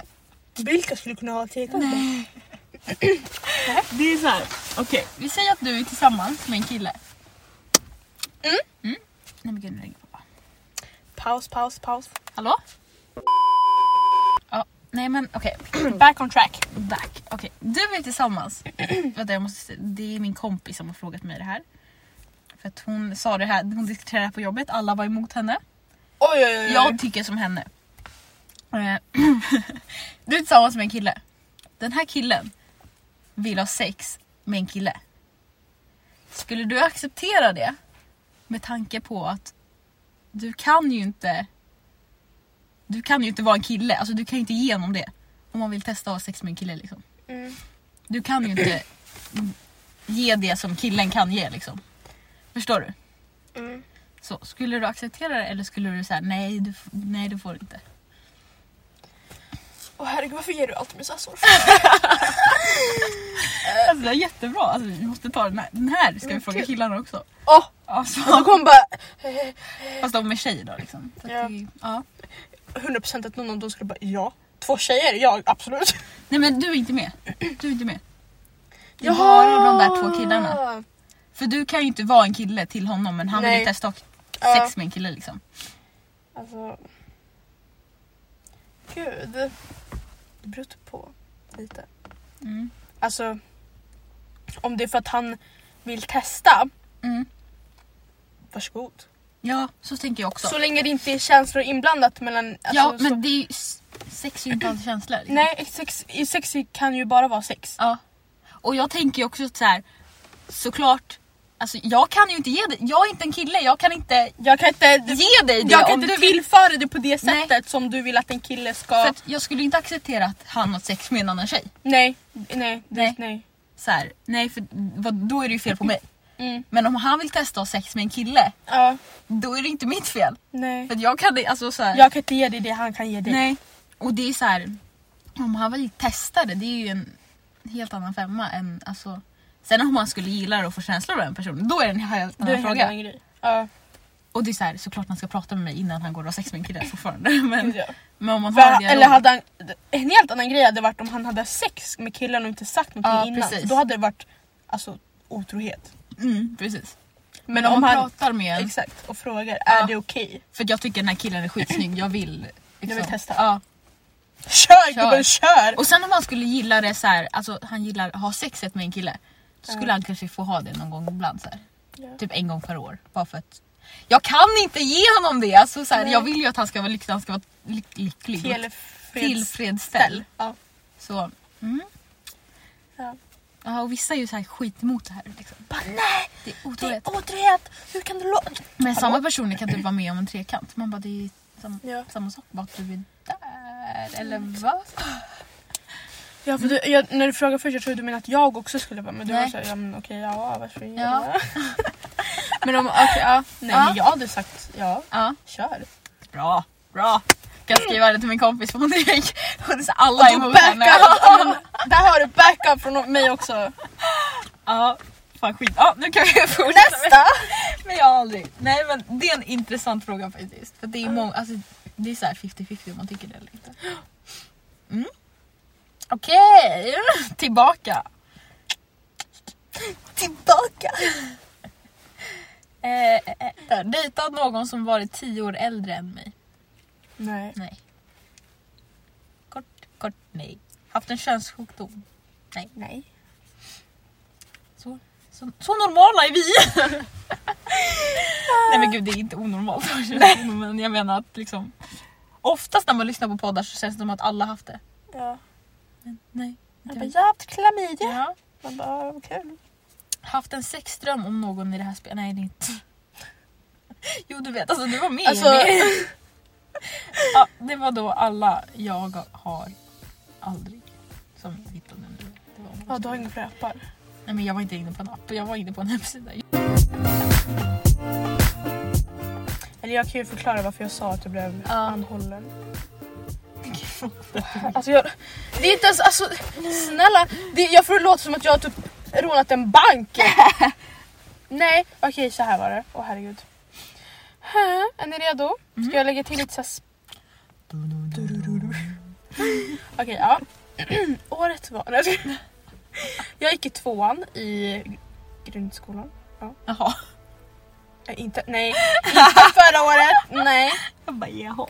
S3: Vilka skulle kunna ha trekant?
S2: Det är så här. okej. Vi säger att du är tillsammans med en kille. Mm. Nej men gud, nu ringer pappa.
S3: Paus, paus, paus.
S2: Hallå? Ja, Nej men okej, back on track. Back. Okej, du är tillsammans. Vänta, jag måste, det är min kompis som har frågat mig det här. För att hon sa det här, hon diskuterade det här på jobbet, alla var emot henne.
S3: Oj oj oj.
S2: Jag tycker som henne. Mm. Eh, Du är tillsammans med en kille. Den här killen vill ha sex med en kille. Skulle du acceptera det? Med tanke på att du kan ju inte Du kan ju inte vara en kille, alltså du kan ju inte ge honom det. Om man vill testa att ha sex med en kille liksom.
S3: Mm.
S2: Du kan ju inte ge det som killen kan ge liksom. Förstår du?
S3: Mm.
S2: Så, skulle du acceptera det eller skulle du säga nej, du, f- nej du får inte?
S3: Åh herregud varför ger du alltid mig såhär
S2: Alltså det är jättebra, alltså, vi måste ta den här. Den här ska vi fråga
S3: Mm, Kul.
S2: killarna också.
S3: Åh!
S2: Alltså,
S3: Då kommer bara
S2: fast de är tjejer då liksom. Så att
S3: Ja.
S2: det- ja.
S3: 100% att någon av dem skulle bara ja. Två tjejer, ja absolut.
S2: Nej men du är inte med. Du är inte med. Det är bara de där två killarna. För du kan ju inte vara en kille till honom men han vill ju
S3: Nej.
S2: testa sex
S3: Ja.
S2: med en kille liksom.
S3: Alltså... Gud. Det beror typ på lite.
S2: Mm.
S3: Alltså... Om det är för att han vill testa,
S2: Mm.
S3: varsågod.
S2: Ja, så tänker jag också.
S3: Så, länge det inte är känslor inblandat mellan... Alltså,
S2: ja
S3: så,
S2: men det är ju, s- sex är ju inte alltid känslor. Liksom.
S3: Nej, sex, i sex kan ju bara vara sex.
S2: Ja. Och jag tänker ju också så här. såklart, alltså jag kan ju inte ge dig, jag är inte en kille, jag kan inte
S3: Jag kan inte,
S2: ge dig det
S3: jag kan
S2: om
S3: inte
S2: du vill.
S3: tillföra det på det
S2: Nej.
S3: sättet som du vill att en kille ska...
S2: För att jag skulle inte acceptera att han har sex med en annan tjej.
S3: Nej, nej,
S2: Nej.
S3: det, nej.
S2: Så här, nej för vad, då är det ju fel på mig.
S3: Mm.
S2: Men om han vill testa att ha sex med en kille,
S3: Ja,
S2: då är det inte mitt fel.
S3: nej.
S2: För att jag kan det- alltså så här,
S3: Jag kan inte ge dig det han kan ge dig.
S2: nej. Och det är så här, om han vill testa det, det är ju en helt annan femma än alltså. Sen om han skulle gilla det och få känslor av en person, då är det en helt
S3: Det är
S2: annan
S3: en helt
S2: fråga.
S3: annan grej. Ja,
S2: Och det är så här, såklart man ska prata med mig innan han går och har sex med en kille fortfarande. Men,
S3: ja.
S2: men om man har en
S3: För,
S2: dialog,
S3: eller hade han, en helt annan grej hade varit om han hade sex med killen och inte sagt någonting
S2: Ja,
S3: innan.
S2: precis.
S3: Då hade det varit alltså, otrohet.
S2: mm, precis.
S3: Men,
S2: Men om, man pratar med en,
S3: Exakt, och frågar
S2: Ja.
S3: är det okej?
S2: för att jag tycker den här killen är skitsnygg, jag vill. liksom.
S3: vill testa.
S2: Ja. Kör.
S3: Kör, gubben kör!
S2: Och sen om han skulle gilla det så här, alltså han gillar att ha sexet med en kille. Då skulle han kanske få ha det någon gång ibland så här.
S3: Ja.
S2: Typ en gång per år. Bara för att jag kan inte ge honom det! Alltså, så här,
S3: Nej.
S2: jag vill ju att han ska vara lycklig, han ska vara lyck- lycklig. och
S3: Tillfredsställd.
S2: Tillfredsställd.
S3: Ja.
S2: Så, mm.
S3: Ja.
S2: Ja, och vissa är ju så här skit emot det här. Liksom.
S3: Bara, nej,
S2: Det är
S3: det är
S2: otroligt.
S3: otrohet! Hur kan du låta...
S2: Men samma personer kan typ vara med om en trekant. Man bara det är ju sam-
S3: Ja.
S2: samma sak, bara att du är där. Eller vad?
S3: Ja, för du, jag, när du frågar först jag trodde du menade att jag också skulle vara men du
S2: Nej.
S3: var såhär, ja men okej, ja varför gör
S2: Ja.
S3: jag det? Men om, okej, ja. Nej
S2: Ja.
S3: men jag hade sagt ja,
S2: Ja.
S3: kör.
S2: Bra, bra. Kan skriva det till min kompis från Erik. Och så Alla är
S3: Och då
S2: emot henne.
S3: backup! Men, där har du backup från mig också.
S2: Ja, fan skit. Ja, nu kan vi fortsätta.
S3: Nästa!
S2: Men jag har aldrig. Nej men det är en intressant fråga faktiskt. För det är många, alltså det är såhär 50-50 om man tycker det eller inte. Mm. Okej, tillbaka.
S3: Tillbaka!
S2: Eh, eh, eh, där. Dejtat någon som varit 10 år äldre än mig.
S3: Nej.
S2: Nej. Kort, kort, nej. Haft en könssjukdom.
S3: Nej.
S2: Så, så, så normala är vi! Nej men gud det är inte onormalt. men jag menar att liksom Oftast när man lyssnar på poddar så känns det som att alla haft det.
S3: Ja.
S2: Men nej.
S3: Jag
S2: inte
S3: bara,
S2: vi.
S3: jag har haft klamydia.
S2: Ja.
S3: Man bara, ah, vad kul.
S2: Haft en sexdröm om någon i det här spelet. Nej det är inte. Jo du vet, alltså du var med.
S3: Alltså-
S2: med. ja, det var då alla jag har aldrig. Som jag hittade nu. Det var
S3: Ja, du har inga flöpar.
S2: Nej men jag var inte inne på en app, jag var inne på en hemsida.
S3: Eller jag kan ju förklara varför jag sa att jag blev anhållen. Alltså jag, det är inte ens, alltså snälla. Det, jag får det låta som att jag har typ rånat en bank. Nej, okej så här var det. Åh herregud. Hä, Är ni redo? Ska jag lägga till lite såhär... Okej, ja. Året var... Nej, jag skojar. Jag gick i tvåan i grundskolan. Äh,
S2: Jaha.
S3: Nej, inte, nej, inte förra året. Nej.
S2: Jag bara jaha.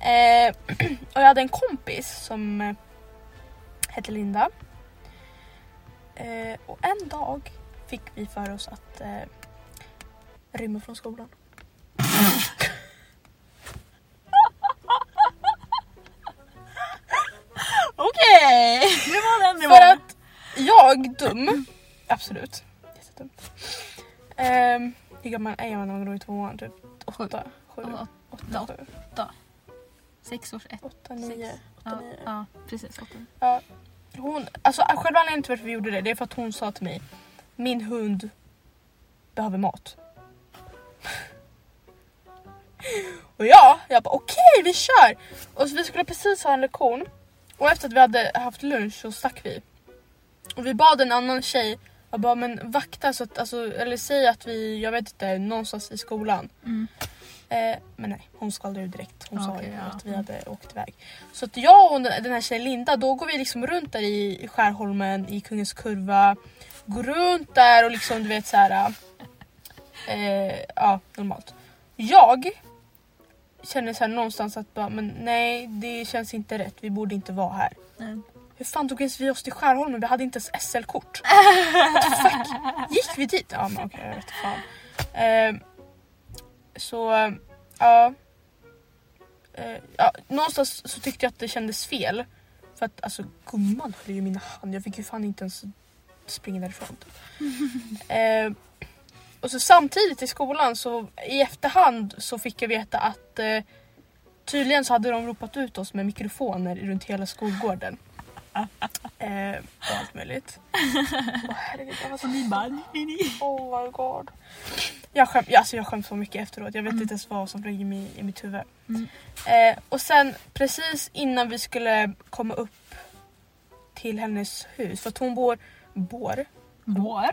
S3: Eh, och jag hade en kompis som eh, hette Linda. Eh, och en dag fick vi för oss att eh, rymma från skolan.
S2: Okej! Det var den
S3: För att jag, dum, absolut, jättedumt. Ehm, hur gammal är man när man går i tvåan? Typ åtta, sju,
S2: Åtta,
S3: åtta,
S2: åtta,
S3: sju,
S2: sex års ett.
S3: åtta, nio,
S2: Sex.
S3: åtta,
S2: Ja,
S3: nio.
S2: ja, precis. Åtta.
S3: Hon, alltså själva anledningen till varför vi gjorde det, det är för att hon sa till mig Min hund behöver mat. och jag, jag bara okej vi kör! Och så vi skulle precis ha en lektion och efter att vi hade haft lunch så stack vi. Och vi bad en annan tjej, jag bara men vakta så att, alltså, eller säg att vi, jag vet inte, någonstans i skolan.
S2: Mm.
S3: Eh, men nej, hon skvallrade ju direkt. Hon sa
S2: Okej,
S3: ju
S2: ja.
S3: att vi hade åkt iväg. Så att jag och den den här tjejen Linda, då går vi liksom runt där i i Skärholmen, i Kungens Kurva. Går runt där och liksom du vet så här. Eh, ja, normalt. Jag känner så här någonstans att bara, men nej, det känns inte rätt. Vi borde inte vara här.
S2: Nej.
S3: Hur fan tog ens vi oss till Skärholmen? Vi hade inte ens SL-kort. What the fuck? Gick vi dit? Ja men okej, jag vet fan. Ehm, så, eh, ja. Eh, ja. Någonstans så tyckte jag att det kändes fel. För att alltså gumman höll ju min hand. Jag fick ju fan inte ens springa därifrån. Typ. Ehm, och så samtidigt i skolan så i efterhand så fick jag veta att eh, tydligen så hade de ropat ut oss med mikrofoner runt hela skolgården. Eh, och allt möjligt. Åh herregud, jag var så
S2: Ni bara...
S3: Oh my god. Jag skäms, jag, alltså jag skäms så mycket efteråt. Jag vet
S2: Mm.
S3: inte ens vad som flög i, mi- i mitt huvud.
S2: Mm.
S3: Eh, och sen precis innan vi skulle komma upp till hennes hus, för att hon bor, bor,
S2: Vår?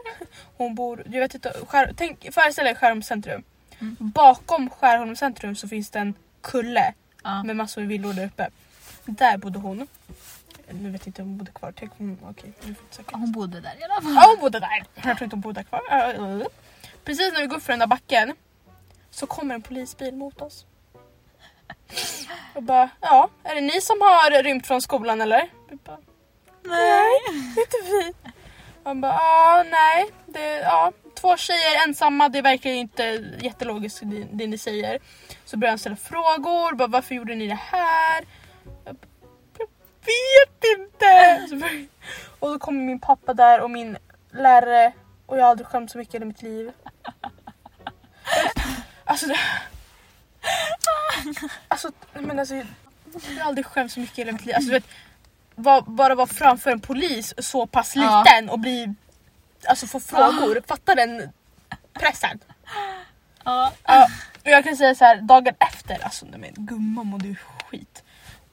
S3: hon bor, jag vet inte, skär, tänk, föreställ dig Skärholms centrum.
S2: Mm.
S3: Bakom Skärholms centrum så finns det en kulle
S2: Ja.
S3: med massor med villor där uppe. Där bodde hon. Nu vet jag inte om hon bodde kvar, tänk om hon, okej, nu får jag söka.
S2: Hon bodde där i alla fall.
S3: Ja hon bodde där. Jag tror inte hon bodde där kvar. Eh, eh. Precis när vi går upp för den där backen så kommer en polisbil mot oss. Och bara, ja, är det ni som har rymt från skolan eller? Vi bara,
S2: Nej.
S3: inte vi. Han bara, ja nej. Det, ja. Två tjejer ensamma, det verkar ju inte jättelogiskt det, det ni säger. Så börjar han ställa frågor, bara, varför gjorde ni det här? Jag, bara, jag vet inte! Så börjar- och då kommer min pappa där och min lärare och jag har aldrig skämt så mycket i mitt liv. Alltså det... Alltså, nej, men alltså jag har aldrig skämt så mycket i hela mitt liv. Alltså, du vet, var, bara vara framför en polis så pass
S2: Ja.
S3: liten och bli... Alltså få frågor. Fatta den pressen.
S2: Ja.
S3: Ja, och jag kan säga så här, dagen efter, alltså nej men gumman mådde ju skit.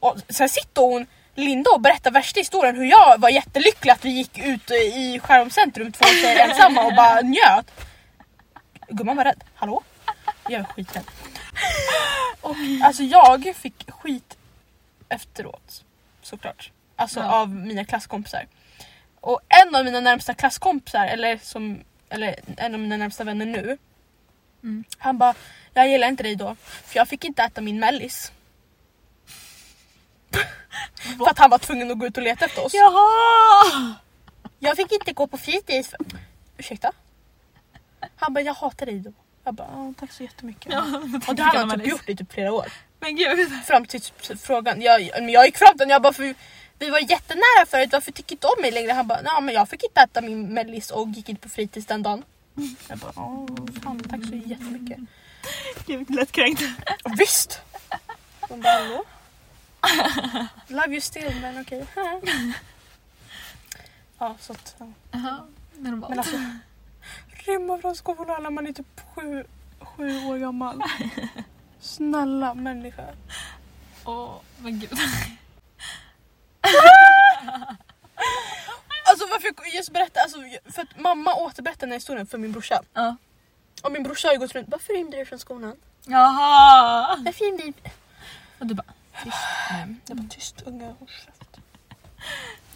S3: Och sen sitter hon, Linda och berättar värsta historien hur jag var jättelycklig att vi gick ut i skärmcentrum två tjejer ensamma och bara njöt. Gumman var rädd, hallå? Jag är skiträdd. Och alltså jag fick skit efteråt såklart. Alltså
S2: Ja.
S3: av mina klasskompisar. Och en av mina närmsta klasskompisar, eller, som, eller en av mina närmsta vänner nu, han bara, jag gillar inte dig då, för jag fick inte äta min mellis. för att han var tvungen att gå ut och leta efter oss.
S2: Jaha!
S3: Jag fick inte gå på fritids. För... Ursäkta? Han bara, jag hatar dig då. Jag bara, "Ja, tack så jättemycket. och det hade han typ gjort i typ flera år.
S2: Men gud.
S3: Fram till typ frågan, jag, men jag gick fram till honom jag bara, för vi var jättenära förut, varför tycker inte du om mig längre? Han bara, nej men jag fick inte äta min mellis och gick inte på fritids den dagen. Jag bara, åh fan tack så jättemycket.
S2: Gud, lättkränkt.
S3: Och Visst! Hon bara hallå? Love you still men okej. ja så att... Ja.
S2: Jaha, normalt.
S3: Men alltså. Rymma från skolan när man är typ sju, sju år gammal. Snälla människa.
S2: Åh, men gud.
S3: Alltså varför jag just berättar, alltså, för att mamma återberättade den här historien för min brorsa.
S2: Ja.
S3: Och min brorsa har ju gått runt, varför rymde du från skolan?
S2: Jaha!
S3: Varför rymde du?
S2: Och du bara... mm."
S3: Jag bara tyst unga håll käft."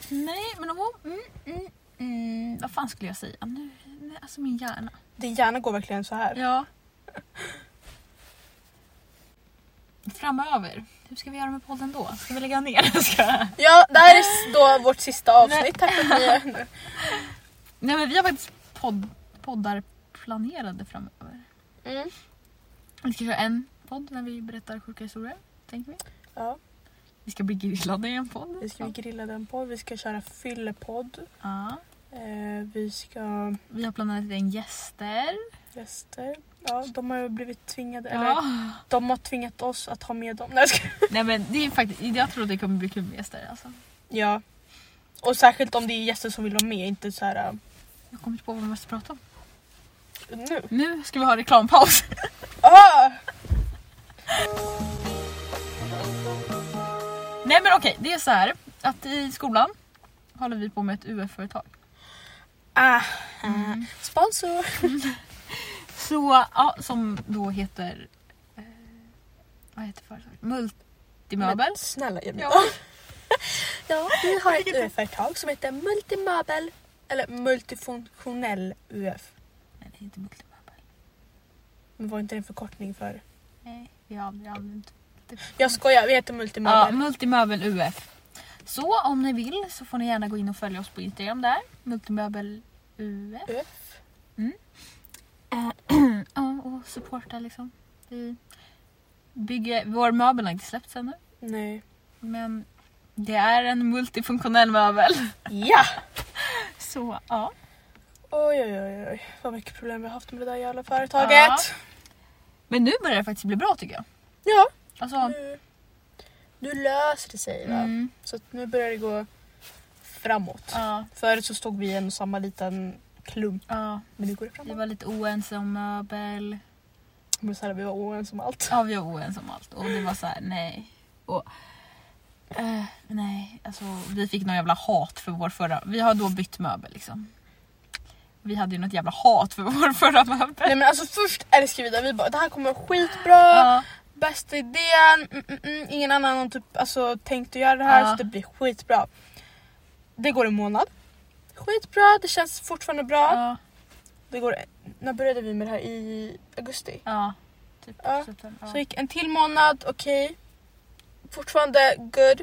S2: Nej, men hon... Mm, mm, mm. Vad fan skulle jag säga? Nu, nej, alltså min hjärna.
S3: Din hjärna går verkligen så här.
S2: Ja. framöver. Hur ska vi göra med podden då? Ska vi lägga ner? Ska... jag-
S4: Ja, det här är då vårt sista avsnitt. Tack för att ni
S2: Nej men vi har faktiskt podd, poddar planerade framöver.
S4: mm.
S2: Vi ska köra en podd när vi berättar sjuka historier, tänker vi.
S3: Ja.
S2: Vi ska bli grillade i en podd.
S3: Vi ska grilla den på, vi ska köra fyllepodd.
S2: ja.
S3: Eh, vi ska
S2: Vi har planerat in gäster.
S3: gäster. Ja, de har ju blivit tvingade, eller
S2: Ja.
S3: de har tvingat oss att ha med dem. Nej, jag skojar.
S2: Nej men det är faktiskt, jag tror att det kommer bli kul med gäster alltså.
S3: Ja. Och särskilt om det är gäster som vill vara med, inte så här uh,
S2: Jag kommer inte på vad vi måste prata om.
S3: eh, nu.
S2: Nu ska vi ha reklampaus.
S3: Ah!
S2: Nej men okej, det är så här att i skolan håller vi på med ett UF-företag.
S3: Ah.
S2: Mm.
S3: Sponsor!
S2: Eh, Så, ja, som då heter... Eh, vad heter företaget? Multimöbel.
S4: Men Snälla ge mig
S2: Ja.
S4: ja. ja, vi har ett UF-företag som heter Multimöbel.
S3: Eller multifunktionell UF.
S2: Nej, det är inte multimöbel.
S3: Men var inte det en förkortning för?
S2: Nej, vi har aldrig använt
S3: Jag skojar, vi heter
S2: Ja,
S3: multimöbel.
S2: Multimöbel UF. Så om ni vill så får ni gärna gå in och följa oss på Instagram där. Multimöbel UF.
S3: UF.
S2: Ja, och supporta liksom. Vi bygger, vår möbel har inte släppts ännu.
S3: Nej.
S2: Men det är en multifunktionell möbel.
S3: Ja!
S2: Så ja.
S3: Oj, oj, oj, oj. Vad mycket problem vi har haft med det där jävla företaget.
S2: Men nu börjar det faktiskt bli bra tycker jag.
S3: Ja.
S2: Alltså,
S3: Nu, nu löser det sig va?
S2: mm,
S3: Så att nu börjar det gå framåt.
S2: ja,
S3: Förut så stod vi i en och samma liten klump,
S2: ja.
S3: men nu går det
S2: Vi
S3: framåt.
S2: var lite oense om möbel.
S3: Men så här, vi var oense om allt.
S2: Ja, vi var oense om allt. Och det var så här, nej. Och, eh, nej, alltså vi fick någon jävla hat för vår förra. Vi har då bytt möbel liksom. Vi hade ju något jävla hat för vår förra möbel.
S3: Nej men alltså först älskar vi det, vi bara det här kommer vara skitbra,
S2: Ja,
S3: bästa idén, mm, mm, mm. ingen annan har typ, alltså, tänkt att göra det här
S2: Ja.
S3: så det blir skitbra. Det går en månad, skitbra, det känns fortfarande bra.
S2: ja,
S3: Det går, när började vi med det här? I augusti?
S2: ja. Typ,
S3: Ja,
S2: så att den-
S3: Så gick en till månad, okej. Fortfarande good.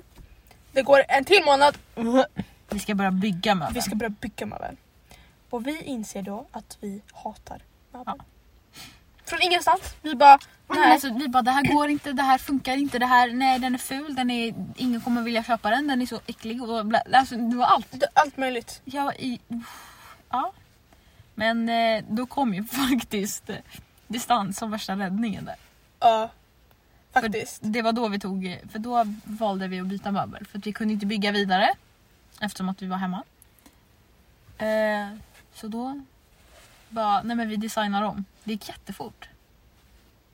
S3: Det går en till månad.
S2: Vi ska börja bygga möbeln.
S3: Vi ska börja bygga möbeln. Och vi inser då att vi hatar möbeln. Från ingenstans. Vi bara,
S2: Nej. Men alltså, vi bara det här går inte, det här funkar inte, det här, nej den är ful, den är, ingen kommer vilja köpa den, den är så äcklig och bla, alltså, det var allt.
S3: det- allt möjligt.
S2: Jag i, ja. Men eh, då kom ju faktiskt eh, distans som värsta räddningen där.
S3: Ja.
S2: För
S3: Faktiskt.
S2: det var då vi tog, eh, för då valde vi att byta möbel för att vi kunde inte bygga vidare eftersom att vi var hemma. Eh, så då bara, nej men vi designar om. Det gick jättefort.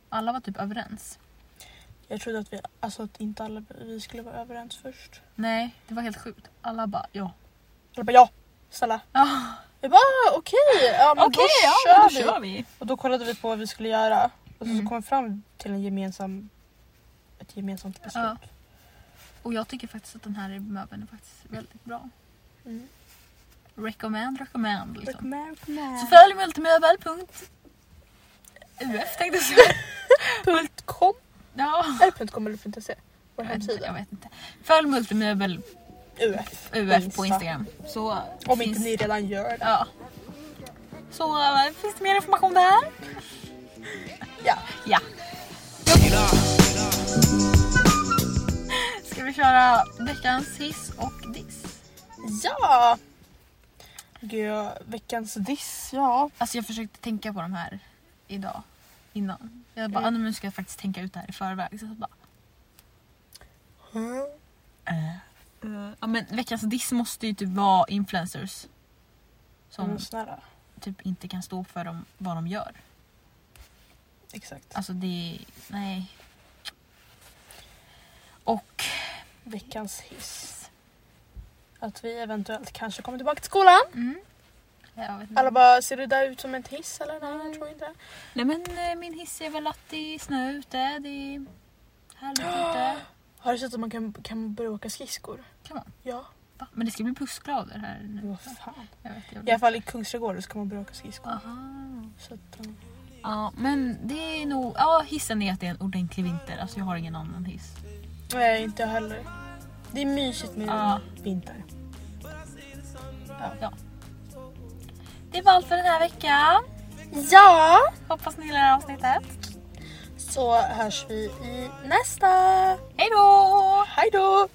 S2: Alla var typ överens.
S3: Jag trodde att vi, alltså att inte alla vi skulle vara överens först.
S2: Nej, det var helt sjukt. Alla bara ja.
S3: Alla bara ja, snälla.
S2: Ah,
S3: Vi bara "Ah, okej, ja men
S2: Okej,
S3: då,
S2: ja,
S3: kör
S2: men då
S3: vi.
S2: kör vi.
S3: Och då kollade vi på vad vi skulle göra. Och så,
S2: Mm.
S3: så kom vi fram till en gemensam, ett gemensamt beslut.
S2: Ja. Och jag tycker faktiskt att den här möbeln är faktiskt väldigt bra.
S3: Mm.
S2: Recommend, recommend liksom.
S3: Recommend, recommend.
S2: Så följ multimöbel. punkt UF tänkte jag säga.
S3: Punkt .com
S2: Ja.
S3: eller punkt .com eller punkt .se. Vår
S2: Jag vet, inte, jag
S3: hemsida.
S2: vet inte. Följ multimöbel
S3: UF.
S2: UF på
S3: Insta.
S2: Instagram. Så
S3: Om
S2: finns,
S3: inte ni redan gör det.
S2: Ja. Så eh, finns det mer information där?
S3: Ja.
S2: Ja. Ska vi köra veckans hiss och diss?
S3: Ja! Gud, jag- veckans diss, ja.
S2: Alltså jag försökte tänka på de här idag. Innan. Jag bara,
S3: Mm.
S2: ah, nej, men nu ska jag faktiskt tänka ut det här i förväg. Så jag bara,
S3: Eh.
S2: "Eh, ja, men veckans diss måste ju typ vara influencers. Som
S3: Men Mm, snälla.
S2: typ inte kan stå för dem, vad de gör.
S3: Exakt.
S2: Alltså det, nej. Och
S3: Veckans hiss. Att vi eventuellt kanske kommer tillbaka till skolan.
S2: mm, jag vet inte.
S3: Alla bara, ser det där ut som en hiss eller? Nej, jag tror inte det.
S2: Nej men eh, min hiss är väl att det är snö ute, det är härligt ute.
S3: Har du sett att man kan, kan börja åka skridskor?
S2: Kan man?
S3: Ja.
S2: Va? Men det ska bli pussgrader här nu.
S3: Vad fan.
S2: Jag vet, jag
S3: I alla fall i Kungsträdgården så kan man börja åka skridskor.
S2: Aha.
S3: Så att, um,
S2: Ja, men det är nog... Ja, hissen är att det är en ordentlig vinter. Alltså jag har ingen annan hiss.
S3: Nej, inte jag heller. Det är mysigt med
S2: Ja.
S3: vinter.
S2: Det var allt för den här veckan.
S4: Ja,
S2: Hoppas ni gillar det här avsnittet.
S3: Så hörs vi i nästa.
S2: Hej då!
S3: Hej då!